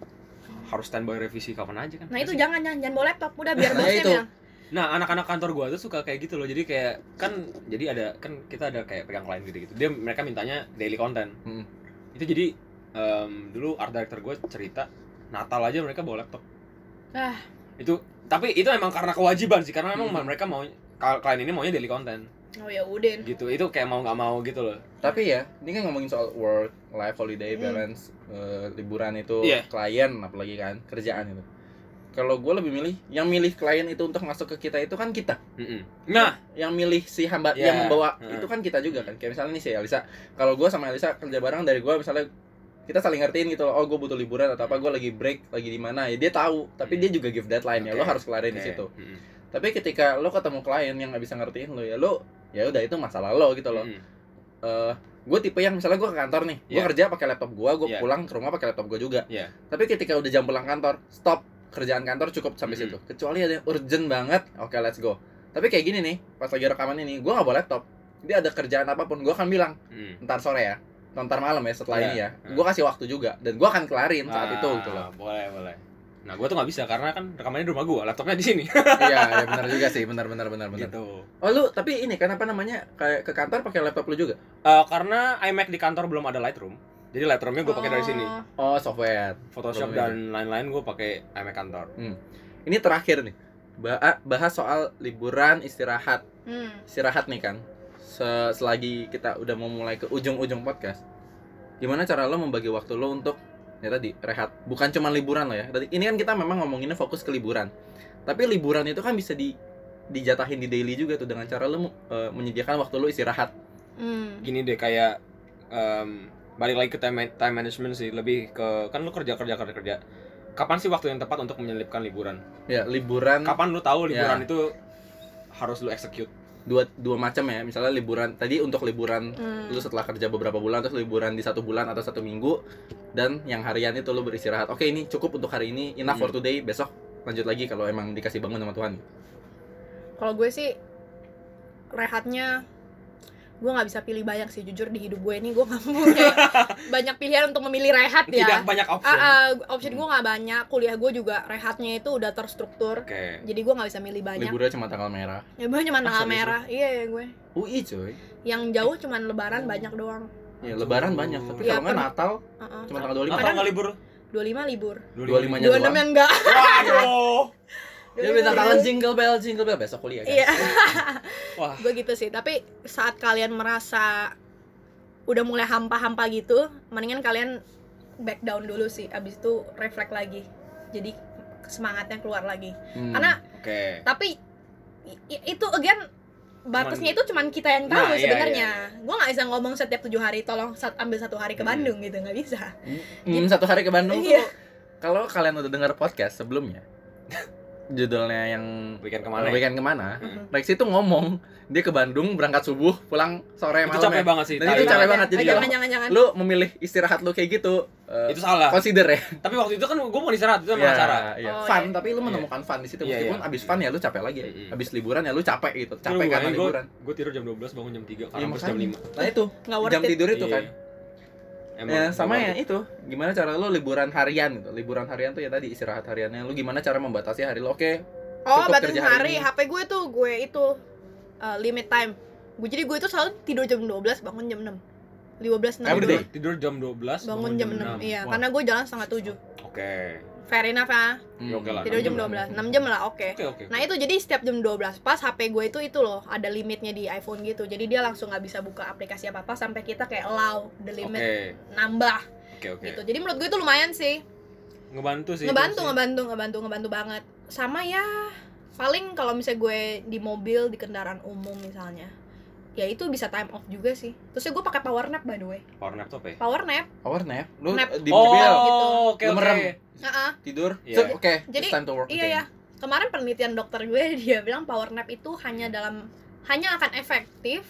[SPEAKER 3] harus standby revisi kapan aja kan
[SPEAKER 1] Nah itu jangan jangan jangan bawa laptop, udah biar
[SPEAKER 2] Nah,
[SPEAKER 1] bosnya
[SPEAKER 2] itu.
[SPEAKER 1] bilang.
[SPEAKER 3] Nah, anak-anak kantor gua tuh suka kayak gitu loh. Jadi kayak kan jadi ada kan kita ada kayak pegang klien gitu gitu. Dia mereka mintanya daily content.
[SPEAKER 2] Hmm.
[SPEAKER 3] Itu jadi em, dulu art director gue cerita Natal aja mereka bawa laptop.
[SPEAKER 1] Ah.
[SPEAKER 3] Itu tapi itu emang karena kewajiban sih karena memang
[SPEAKER 2] Hmm.
[SPEAKER 3] mereka mau kal- klien ini maunya daily content
[SPEAKER 1] Oh ya udah.
[SPEAKER 3] gitu. Itu kayak mau nggak mau gitu loh.
[SPEAKER 2] Tapi ya, ini kan ngomongin soal work, life, holiday,
[SPEAKER 1] Hmm.
[SPEAKER 2] balance, eh, liburan itu,
[SPEAKER 3] Iya.
[SPEAKER 2] klien apalagi kan, kerjaan itu. Kalau gua lebih milih yang milih klien itu untuk masuk ke kita itu kan kita.
[SPEAKER 3] Mm-mm. Nah,
[SPEAKER 2] Yang milih si hamba
[SPEAKER 3] Iya.
[SPEAKER 2] yang membawa
[SPEAKER 3] Heeh.
[SPEAKER 2] itu kan kita juga kan. Kayak misalnya nih si Elisa, kalau gua sama Elisa kerja bareng dari gua misalnya kita saling ngertiin gitu loh, oh gue butuh liburan atau apa, gua lagi break, lagi di mana, ya dia tahu, tapi
[SPEAKER 3] Hmm.
[SPEAKER 2] dia juga give deadline ya, lo
[SPEAKER 3] Oke.
[SPEAKER 2] harus kelarin di
[SPEAKER 3] kayak-
[SPEAKER 2] situ.
[SPEAKER 3] Mm-mm.
[SPEAKER 2] tapi ketika lo ketemu klien yang nggak bisa ngertiin lo ya lo ya udah itu masalah lo gitu loh
[SPEAKER 3] Mm.
[SPEAKER 2] eh gue tipe yang misalnya gue ke kantor nih gue
[SPEAKER 3] Yeah.
[SPEAKER 2] kerja pakai laptop gue gue
[SPEAKER 3] Yeah.
[SPEAKER 2] pulang ke rumah pakai laptop gue juga
[SPEAKER 3] Yeah.
[SPEAKER 2] tapi ketika udah jam pulang kantor stop kerjaan kantor cukup sampai
[SPEAKER 3] Mm-mm.
[SPEAKER 2] situ kecuali ada yang urgent banget oke let's go tapi kayak gini nih pas lagi rekaman ini gue nggak bawa laptop dia ada kerjaan apapun gue akan bilang
[SPEAKER 3] Mm.
[SPEAKER 2] ntar sore ya ntar malam ya setelah
[SPEAKER 3] Yeah.
[SPEAKER 2] ini ya
[SPEAKER 3] Hmm.
[SPEAKER 2] gue kasih waktu juga dan gue akan kelarin saat itu gitu loh
[SPEAKER 3] Ah, boleh boleh nah gue tuh nggak bisa karena kan rekamannya di rumah gue laptopnya di sini
[SPEAKER 2] iya ya benar juga sih benar benar benar benar
[SPEAKER 3] gitu
[SPEAKER 2] oh lu tapi ini kenapa namanya kayak ke kantor pakai laptop lu juga
[SPEAKER 3] Eh, karena iMac di kantor belum ada Lightroom jadi Lightroomnya gue pakai dari sini
[SPEAKER 1] Oh,
[SPEAKER 2] oh software
[SPEAKER 3] Photoshop
[SPEAKER 2] Belum ada.
[SPEAKER 3] dan lain-lain gue pakai iMac kantor
[SPEAKER 2] ini terakhir nih Ba- ah, bahas soal liburan istirahat
[SPEAKER 1] hmm.
[SPEAKER 2] istirahat nih kan Se- selagi kita udah mau mulai ke ujung-ujung podcast gimana cara lo membagi waktu lo untuk ya tadi rehat bukan cuma liburan lo ya tadi ini kan kita memang ngomonginnya fokus ke liburan tapi liburan itu kan bisa di dijatahin di daily juga tuh dengan cara lo eh, menyediakan waktu lo istirahat
[SPEAKER 1] Hmm.
[SPEAKER 3] gini deh kayak em, balik lagi ke time, time management sih lebih ke kan lu kerja kerja kerja kerja kapan sih waktu yang tepat untuk menyelipkan liburan
[SPEAKER 2] ya liburan
[SPEAKER 3] kapan lu tahu
[SPEAKER 2] Ya.
[SPEAKER 3] liburan itu harus lu execute
[SPEAKER 2] dua dua macam ya misalnya liburan tadi untuk liburan
[SPEAKER 1] Hmm.
[SPEAKER 2] lu setelah kerja beberapa bulan terus liburan di satu bulan atau satu minggu dan yang harian itu lu beristirahat oke ini cukup untuk hari ini enough for today besok lanjut lagi kalau emang dikasih bangun sama Tuhan
[SPEAKER 1] Kalau gue sih rehatnya gue nggak bisa pilih banyak sih jujur di hidup gue ini gue nggak punya banyak pilihan untuk memilih rehat
[SPEAKER 3] tidak
[SPEAKER 1] ya.
[SPEAKER 3] banyak option
[SPEAKER 1] Ah, ah, option gue nggak banyak. Kuliah gue juga rehatnya itu udah terstruktur.
[SPEAKER 3] oke
[SPEAKER 1] Jadi gue nggak bisa milih banyak.
[SPEAKER 2] liburnya cuma tanggal merah
[SPEAKER 1] Ya gue
[SPEAKER 2] Ah,
[SPEAKER 1] cuma tanggal
[SPEAKER 3] serius lu?
[SPEAKER 1] merah. Iya ya gue.
[SPEAKER 2] UI coy
[SPEAKER 1] Yang jauh cuman lebaran banyak doang.
[SPEAKER 2] ya, lebaran banyak tapi kalau
[SPEAKER 1] Ya,
[SPEAKER 2] nggak
[SPEAKER 1] per-
[SPEAKER 2] Natal
[SPEAKER 1] Heeh.
[SPEAKER 2] cuma tanggal 25
[SPEAKER 3] Atau
[SPEAKER 1] Iya,
[SPEAKER 3] nggak libur
[SPEAKER 1] 25 libur.
[SPEAKER 2] 25
[SPEAKER 1] 26
[SPEAKER 2] Banyak doang.
[SPEAKER 1] ya enggak.
[SPEAKER 3] Waduh.
[SPEAKER 2] ya bintang tangan
[SPEAKER 1] 25 libur.
[SPEAKER 2] jingle bell jingle bell besok kuliah guys.
[SPEAKER 1] Iya.
[SPEAKER 3] Wah.
[SPEAKER 1] gue gitu sih. Tapi saat kalian merasa udah mulai hampa-hampa gitu, mendingan kalian back down dulu sih. Abis itu reflect lagi. Jadi semangatnya keluar lagi.
[SPEAKER 2] Hmm.
[SPEAKER 1] Karena
[SPEAKER 3] oke
[SPEAKER 1] tapi i- i- itu again batasnya itu cuman kita yang tahu
[SPEAKER 3] Nah, iya,
[SPEAKER 1] sebenarnya gue nggak bisa ngomong setiap tujuh hari tolong sat- ambil satu hari ke
[SPEAKER 3] Hmm.
[SPEAKER 1] Bandung gitu nggak bisa
[SPEAKER 2] Hmm, satu hari ke Bandung tuh
[SPEAKER 1] Iya.
[SPEAKER 2] kalau kalian udah dengar podcast sebelumnya judulnya yang
[SPEAKER 3] weekend
[SPEAKER 2] kemana?
[SPEAKER 3] kemana ya?
[SPEAKER 2] weekend kemana
[SPEAKER 3] Mm.
[SPEAKER 2] Rex itu ngomong dia ke Bandung berangkat subuh pulang sore
[SPEAKER 3] itu
[SPEAKER 2] malam
[SPEAKER 3] capek
[SPEAKER 2] ya.
[SPEAKER 3] banget sih
[SPEAKER 2] Dan
[SPEAKER 3] tapi
[SPEAKER 2] itu capek banget, jadi
[SPEAKER 1] jangan,
[SPEAKER 2] kalau-
[SPEAKER 1] jangan jangan
[SPEAKER 2] lu memilih istirahat lu kayak gitu eh,
[SPEAKER 3] itu salah
[SPEAKER 2] consider ya
[SPEAKER 3] tapi waktu itu kan gue mau istirahat itu sama
[SPEAKER 2] Iya,
[SPEAKER 3] acara
[SPEAKER 2] iya.
[SPEAKER 1] Oh,
[SPEAKER 2] fun
[SPEAKER 1] iya.
[SPEAKER 2] tapi lu menemukan fun di situ
[SPEAKER 3] Iya,
[SPEAKER 2] meskipun
[SPEAKER 3] iya.
[SPEAKER 2] abis fun ya lu capek lagi
[SPEAKER 3] Mm-mm.
[SPEAKER 2] abis liburan ya lu capek gitu capek
[SPEAKER 3] Aduh,
[SPEAKER 2] karena
[SPEAKER 3] makanya
[SPEAKER 2] liburan
[SPEAKER 3] gue tidur jam 12 bangun jam 3
[SPEAKER 2] Iya,
[SPEAKER 3] karena harus jam
[SPEAKER 2] makanya.
[SPEAKER 3] 5
[SPEAKER 2] nah itu
[SPEAKER 1] nggak worth
[SPEAKER 2] jam
[SPEAKER 1] it
[SPEAKER 2] tidur itu
[SPEAKER 3] Iya,
[SPEAKER 2] kan
[SPEAKER 3] Emang,
[SPEAKER 2] ya, sama ya
[SPEAKER 3] nggak
[SPEAKER 2] itu gimana cara lu liburan harian gitu liburan harian tuh ya tadi istirahat hariannya lu gimana cara membatasi hari lu oke
[SPEAKER 1] oh
[SPEAKER 2] cukup
[SPEAKER 1] batas
[SPEAKER 2] kerja hari
[SPEAKER 1] hari
[SPEAKER 2] ini.
[SPEAKER 1] HP gue tuh gue itu uh, limit time gue jadi gue itu selalu tidur jam 12 bangun jam 6 15
[SPEAKER 2] Every
[SPEAKER 3] tidur,
[SPEAKER 2] day.
[SPEAKER 1] 6
[SPEAKER 3] tidur jam 12
[SPEAKER 1] bangun, jam 6, iya
[SPEAKER 3] Wah,
[SPEAKER 1] karena gue jalan setengah tujuh
[SPEAKER 3] oke
[SPEAKER 1] fair enough ya
[SPEAKER 2] Hmm.
[SPEAKER 3] Ya, oke lah,
[SPEAKER 1] tidur jam 12 6 jam lah oke
[SPEAKER 3] oke oke
[SPEAKER 1] Nah itu jadi setiap jam 12 pas HP gue itu itu loh ada limitnya di iPhone gitu Jadi dia langsung nggak bisa buka aplikasi apa-apa sampai kita kayak allow the limit
[SPEAKER 3] oke
[SPEAKER 1] nambah
[SPEAKER 3] oke oke
[SPEAKER 1] gitu Jadi menurut gue itu lumayan sih
[SPEAKER 3] ngebantu sih itu
[SPEAKER 1] Ngebantu,
[SPEAKER 3] sih.
[SPEAKER 1] ngebantu, ngebantu, ngebantu banget Sama ya paling kalau misalnya gue di mobil, di kendaraan umum misalnya Ya itu bisa time off juga sih Terus gue pakai power nap by the way
[SPEAKER 3] power nap tuh apa ya?
[SPEAKER 1] Power nap
[SPEAKER 2] power nap lu
[SPEAKER 1] Nap.
[SPEAKER 2] eh, di
[SPEAKER 3] oh
[SPEAKER 2] mobil
[SPEAKER 1] gitu.
[SPEAKER 3] oke
[SPEAKER 2] Lu
[SPEAKER 3] oke
[SPEAKER 2] merem.
[SPEAKER 1] Heeh.
[SPEAKER 2] tidur set,
[SPEAKER 3] Iya.
[SPEAKER 2] oke
[SPEAKER 1] Jadi,
[SPEAKER 2] it's time to work
[SPEAKER 1] Iya ya Kemarin penelitian dokter gue dia bilang power nap itu hanya dalam hanya akan efektif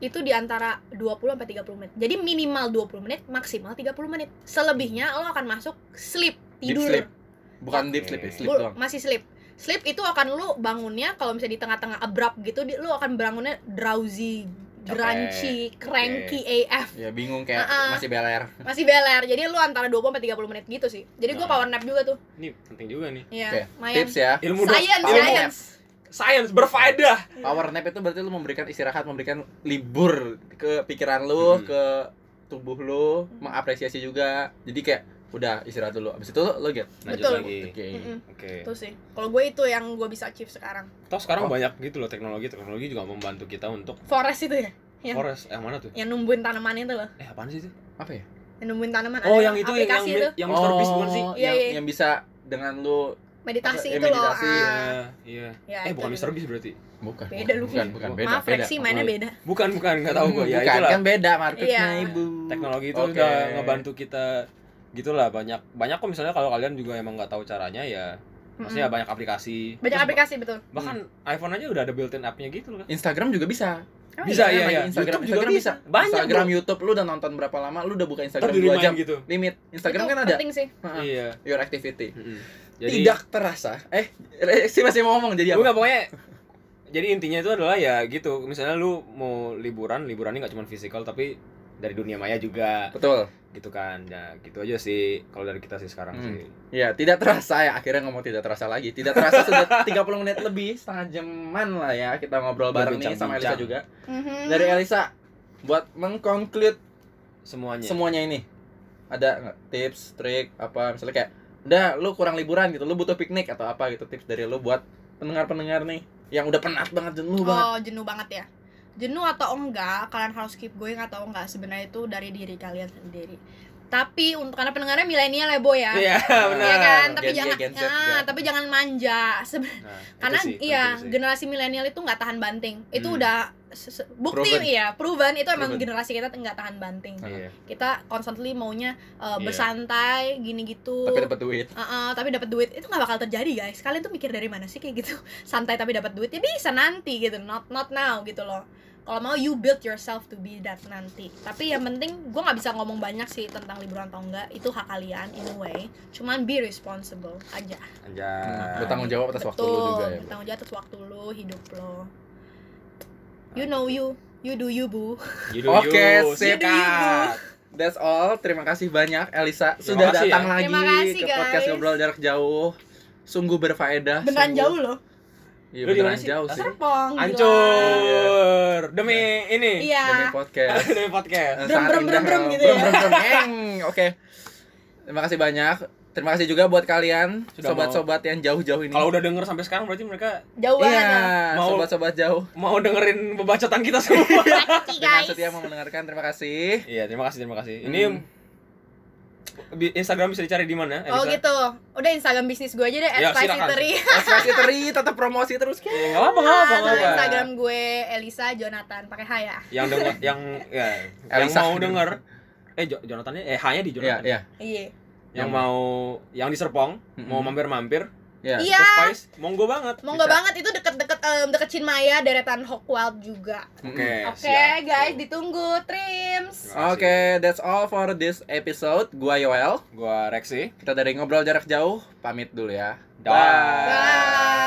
[SPEAKER 1] itu di antara 20 sampai 30 menit. Jadi minimal 20 menit, maksimal 30 menit. Selebihnya lo akan masuk sleep,
[SPEAKER 2] Deep
[SPEAKER 1] tidur.
[SPEAKER 2] sleep. bukan deep sleep ya, sleep
[SPEAKER 1] Bu-
[SPEAKER 2] doang
[SPEAKER 1] masih sleep. Sleep itu akan lu bangunnya kalau misalnya di tengah-tengah abrupt gitu, di- lu akan bangunnya drowsy,
[SPEAKER 3] Capek.
[SPEAKER 1] grunchy, cranky AF
[SPEAKER 2] ya bingung kayak
[SPEAKER 1] Ah, ah.
[SPEAKER 2] masih beler
[SPEAKER 1] masih beler jadi lu antara 20 sampai 30 menit gitu sih jadi gue
[SPEAKER 3] Nah.
[SPEAKER 1] power nap juga tuh
[SPEAKER 3] ini penting juga nih
[SPEAKER 1] iya
[SPEAKER 2] Oke,
[SPEAKER 1] lumayan
[SPEAKER 2] tips ya
[SPEAKER 3] ilmu dok-
[SPEAKER 1] science
[SPEAKER 2] Power
[SPEAKER 3] ilmu
[SPEAKER 2] nap.
[SPEAKER 1] science
[SPEAKER 3] science berfaedah
[SPEAKER 2] Power nap itu berarti lu memberikan istirahat, memberikan libur ke pikiran lu,
[SPEAKER 3] Mhm.
[SPEAKER 2] ke tubuh lu, mengapresiasi juga. Jadi kayak udah istirahat dulu. Abis itu lu get.
[SPEAKER 3] lanjut
[SPEAKER 1] Betul.
[SPEAKER 3] lagi
[SPEAKER 2] Oke.
[SPEAKER 1] Mm-mm.
[SPEAKER 3] oke
[SPEAKER 1] itu sih kalau gue itu yang gue bisa achieve sekarang
[SPEAKER 3] toh
[SPEAKER 2] Oh.
[SPEAKER 3] sekarang banyak gitu loh teknologi teknologi juga membantu kita untuk
[SPEAKER 1] forest itu ya Yang-
[SPEAKER 3] forest eh mana tuh
[SPEAKER 1] yang numbuhin tanaman itu loh
[SPEAKER 3] eh apaan sih itu
[SPEAKER 2] Apa ya?
[SPEAKER 1] yang numbuhin tanaman
[SPEAKER 3] oh
[SPEAKER 1] ada
[SPEAKER 3] yang itu yang yang
[SPEAKER 1] aplikasi itu
[SPEAKER 3] yang Mr. Beast bukan sih
[SPEAKER 2] Oh,
[SPEAKER 1] Iya,
[SPEAKER 2] yang,
[SPEAKER 1] iya.
[SPEAKER 2] yang bisa dengan lu Apa,
[SPEAKER 1] meditasi
[SPEAKER 2] eh,
[SPEAKER 1] itu loh
[SPEAKER 2] meditasi,
[SPEAKER 1] ah.
[SPEAKER 3] iya iya
[SPEAKER 1] Ya,
[SPEAKER 3] eh
[SPEAKER 1] itu
[SPEAKER 3] bukan
[SPEAKER 1] juga.
[SPEAKER 3] Mr. Beast berarti
[SPEAKER 2] bukan.
[SPEAKER 1] Beda lu,
[SPEAKER 2] bukan,
[SPEAKER 3] Fi.
[SPEAKER 2] bukan, beda,
[SPEAKER 1] maaf
[SPEAKER 2] beda.
[SPEAKER 1] Rexy mainnya
[SPEAKER 3] Apalagi.
[SPEAKER 1] beda
[SPEAKER 3] bukan bukan nggak tahu gue ya
[SPEAKER 2] bukan,
[SPEAKER 3] itulah
[SPEAKER 2] kan beda marketnya
[SPEAKER 1] Iya.
[SPEAKER 2] Ibu.
[SPEAKER 3] teknologi itu
[SPEAKER 2] Oke.
[SPEAKER 3] udah ngebantu kita gitulah banyak banyak kok misalnya kalau kalian juga emang nggak tahu caranya ya maksudnya banyak aplikasi
[SPEAKER 1] banyak
[SPEAKER 3] Terus
[SPEAKER 1] aplikasi betul
[SPEAKER 3] bah- bahkan iPhone aja udah ada built-in app-nya gitu loh kan
[SPEAKER 2] Instagram juga bisa.
[SPEAKER 1] Emang
[SPEAKER 3] Bisa, iya,
[SPEAKER 1] iya?
[SPEAKER 2] Oh, Main
[SPEAKER 3] iya.
[SPEAKER 2] Instagram
[SPEAKER 3] YouTube juga
[SPEAKER 2] Instagram bisa.
[SPEAKER 3] banyak
[SPEAKER 2] Instagram,
[SPEAKER 3] bro.
[SPEAKER 2] YouTube lu udah nonton berapa lama? Lu udah buka Instagram
[SPEAKER 3] Ntar di
[SPEAKER 2] 2
[SPEAKER 3] remind
[SPEAKER 2] jam.
[SPEAKER 3] gitu
[SPEAKER 2] Limit. Instagram
[SPEAKER 1] Itu
[SPEAKER 2] kan ada
[SPEAKER 1] penting sih
[SPEAKER 2] Heeh.
[SPEAKER 3] iya
[SPEAKER 2] your activity.
[SPEAKER 3] Mm-mm.
[SPEAKER 2] Tidak terasa. Eh, eh, sih masih mau ngomong jadi apa?
[SPEAKER 3] Enggak ya pokoknya jadi intinya itu adalah ya gitu misalnya lu mau liburan liburannya nggak cuma fisikal tapi dari dunia maya juga
[SPEAKER 2] Betul.
[SPEAKER 3] gitu kan ya gitu aja sih kalau dari kita sih sekarang
[SPEAKER 2] Hmm.
[SPEAKER 3] sih
[SPEAKER 2] Ya, tidak terasa ya. Akhirnya ngomong tidak terasa lagi. Tidak terasa sudah 30 menit lebih, setengah jaman lah ya kita ngobrol bareng nih sama Elisa
[SPEAKER 3] Berbincang-bincang.
[SPEAKER 2] juga.
[SPEAKER 1] Mhm.
[SPEAKER 2] Dari Elisa buat mengconclude
[SPEAKER 3] semuanya
[SPEAKER 2] semuanya ini. Ada nggak tips, trik apa misalnya kayak udah lu kurang liburan gitu, lu butuh piknik atau apa gitu tips dari lu buat pendengar-pendengar nih yang udah penat banget jenuh banget.
[SPEAKER 1] Oh, jenuh banget ya. Jenuh atau enggak, kalian harus keep going atau enggak sebenarnya itu dari diri kalian sendiri. Tapi untuk karena pendengarnya milenial ya, Bo ya.
[SPEAKER 3] iya benar
[SPEAKER 1] Iya kan, tapi
[SPEAKER 2] Gen Z,
[SPEAKER 1] jangan
[SPEAKER 2] Gen Z
[SPEAKER 1] ah,
[SPEAKER 2] juga.
[SPEAKER 1] tapi jangan manja. Seben-
[SPEAKER 3] Nah, itu
[SPEAKER 1] karena
[SPEAKER 3] sih,
[SPEAKER 1] iya,
[SPEAKER 3] penting sih.
[SPEAKER 1] generasi milenial itu nggak tahan banting. Itu
[SPEAKER 3] Hmm.
[SPEAKER 1] udah se- se- bukti
[SPEAKER 2] Proven.
[SPEAKER 1] iya, proven itu emang
[SPEAKER 2] Proven.
[SPEAKER 1] generasi kita nggak tahan banting.
[SPEAKER 3] Iya.
[SPEAKER 1] Kita constantly maunya
[SPEAKER 3] Iya.
[SPEAKER 1] uh, bersantai gini gitu.
[SPEAKER 2] Tapi dapat duit.
[SPEAKER 1] Heeh, tapi dapat duit itu nggak bakal terjadi guys kalian tuh mikir dari mana sih kayak gitu santai tapi dapat duit ya bisa nanti gitu not not now gitu loh kalau mau you build yourself to be that nanti tapi yang penting gue nggak bisa ngomong banyak sih tentang liburan atau enggak itu hak kalian in a way cuman be responsible aja
[SPEAKER 3] Anjay.
[SPEAKER 2] Bertanggung jawab atas waktu lu juga ya.
[SPEAKER 1] bertanggung jawab atas waktu lu hidup lo you know you you do you bu
[SPEAKER 3] Gitu,
[SPEAKER 2] Oke,
[SPEAKER 3] yuk.
[SPEAKER 2] sip.
[SPEAKER 3] Sikat.
[SPEAKER 2] That's all. Terima kasih banyak Elisa sudah
[SPEAKER 3] Terima kasih
[SPEAKER 2] datang
[SPEAKER 3] ya.
[SPEAKER 2] lagi
[SPEAKER 1] Terima kasih,
[SPEAKER 2] ke podcast
[SPEAKER 1] guys.
[SPEAKER 2] ngobrol jarak jauh. Sungguh berfaedah. sungguh-
[SPEAKER 1] beneran jauh loh
[SPEAKER 2] Iya,
[SPEAKER 3] Lu di
[SPEAKER 2] beneran
[SPEAKER 3] mana sih?
[SPEAKER 2] jauh Ah, sih.
[SPEAKER 1] serpong gila.
[SPEAKER 3] Hancur demi ini.
[SPEAKER 2] Demi
[SPEAKER 1] iya
[SPEAKER 2] podcast.
[SPEAKER 3] demi podcast.
[SPEAKER 2] Eh,
[SPEAKER 1] Brem,
[SPEAKER 2] sangat
[SPEAKER 1] brem, brem,
[SPEAKER 2] indah.
[SPEAKER 1] brem gitu
[SPEAKER 2] Brem,
[SPEAKER 1] ya.
[SPEAKER 2] brem, brem, eng. Oke. Terima kasih banyak. Terima kasih juga buat kalian
[SPEAKER 3] Sudah
[SPEAKER 2] sobat-sobat yang jauh-jauh ini.
[SPEAKER 3] Kalau udah denger sampai sekarang berarti mereka
[SPEAKER 1] jauh
[SPEAKER 2] Iya,
[SPEAKER 1] banget
[SPEAKER 3] Mau-
[SPEAKER 2] sobat-sobat jauh
[SPEAKER 3] mau dengerin pembacotan kita semua.
[SPEAKER 1] Makasih,
[SPEAKER 2] dengan
[SPEAKER 1] Iya, guys
[SPEAKER 2] setia mau Iya, mendengarkan. Terima kasih.
[SPEAKER 3] Iya, terima kasih, terima kasih. Ini
[SPEAKER 2] Hmm.
[SPEAKER 3] bi- Instagram bisa dicari di mana?
[SPEAKER 1] Oh
[SPEAKER 3] Elisa?
[SPEAKER 1] gitu. Udah Instagram bisnis gue aja deh,
[SPEAKER 3] Ya, silakan.
[SPEAKER 1] @spiceteri.
[SPEAKER 2] Masih teri tetap promosi terus.
[SPEAKER 3] Eh, nggak apa-apa, nggak apa-apa, nggak
[SPEAKER 1] Terus
[SPEAKER 3] apa-apa.
[SPEAKER 1] Instagram gue Elisa Jonathan pakai H ya.
[SPEAKER 3] Yang denger yang ya, yang
[SPEAKER 2] Elisa.
[SPEAKER 3] mau denger eh Jo- Jonathannya eh hanya di
[SPEAKER 2] Iya,
[SPEAKER 3] Jonathan.
[SPEAKER 2] iya.
[SPEAKER 1] Iya.
[SPEAKER 3] Yang mau yang di Serpong,
[SPEAKER 2] Mm-mm.
[SPEAKER 3] mau mampir-mampir
[SPEAKER 2] Iya.
[SPEAKER 1] Iya.
[SPEAKER 3] ke Spice, monggo banget.
[SPEAKER 1] Mau nggak
[SPEAKER 2] Bisa.
[SPEAKER 1] banget itu deket-deket em, deket Chinmaya deretan Hockwald juga.
[SPEAKER 3] Oke,
[SPEAKER 2] Eh,
[SPEAKER 1] Oke
[SPEAKER 3] siap.
[SPEAKER 1] guys, ditunggu
[SPEAKER 3] Terima
[SPEAKER 1] Trims.
[SPEAKER 3] kasih.
[SPEAKER 2] Oke, that's all for this episode. Gua Yoel.
[SPEAKER 3] Gua Rexi.
[SPEAKER 2] Kita dari ngobrol jarak jauh pamit dulu ya.
[SPEAKER 3] Dah.
[SPEAKER 1] Bye.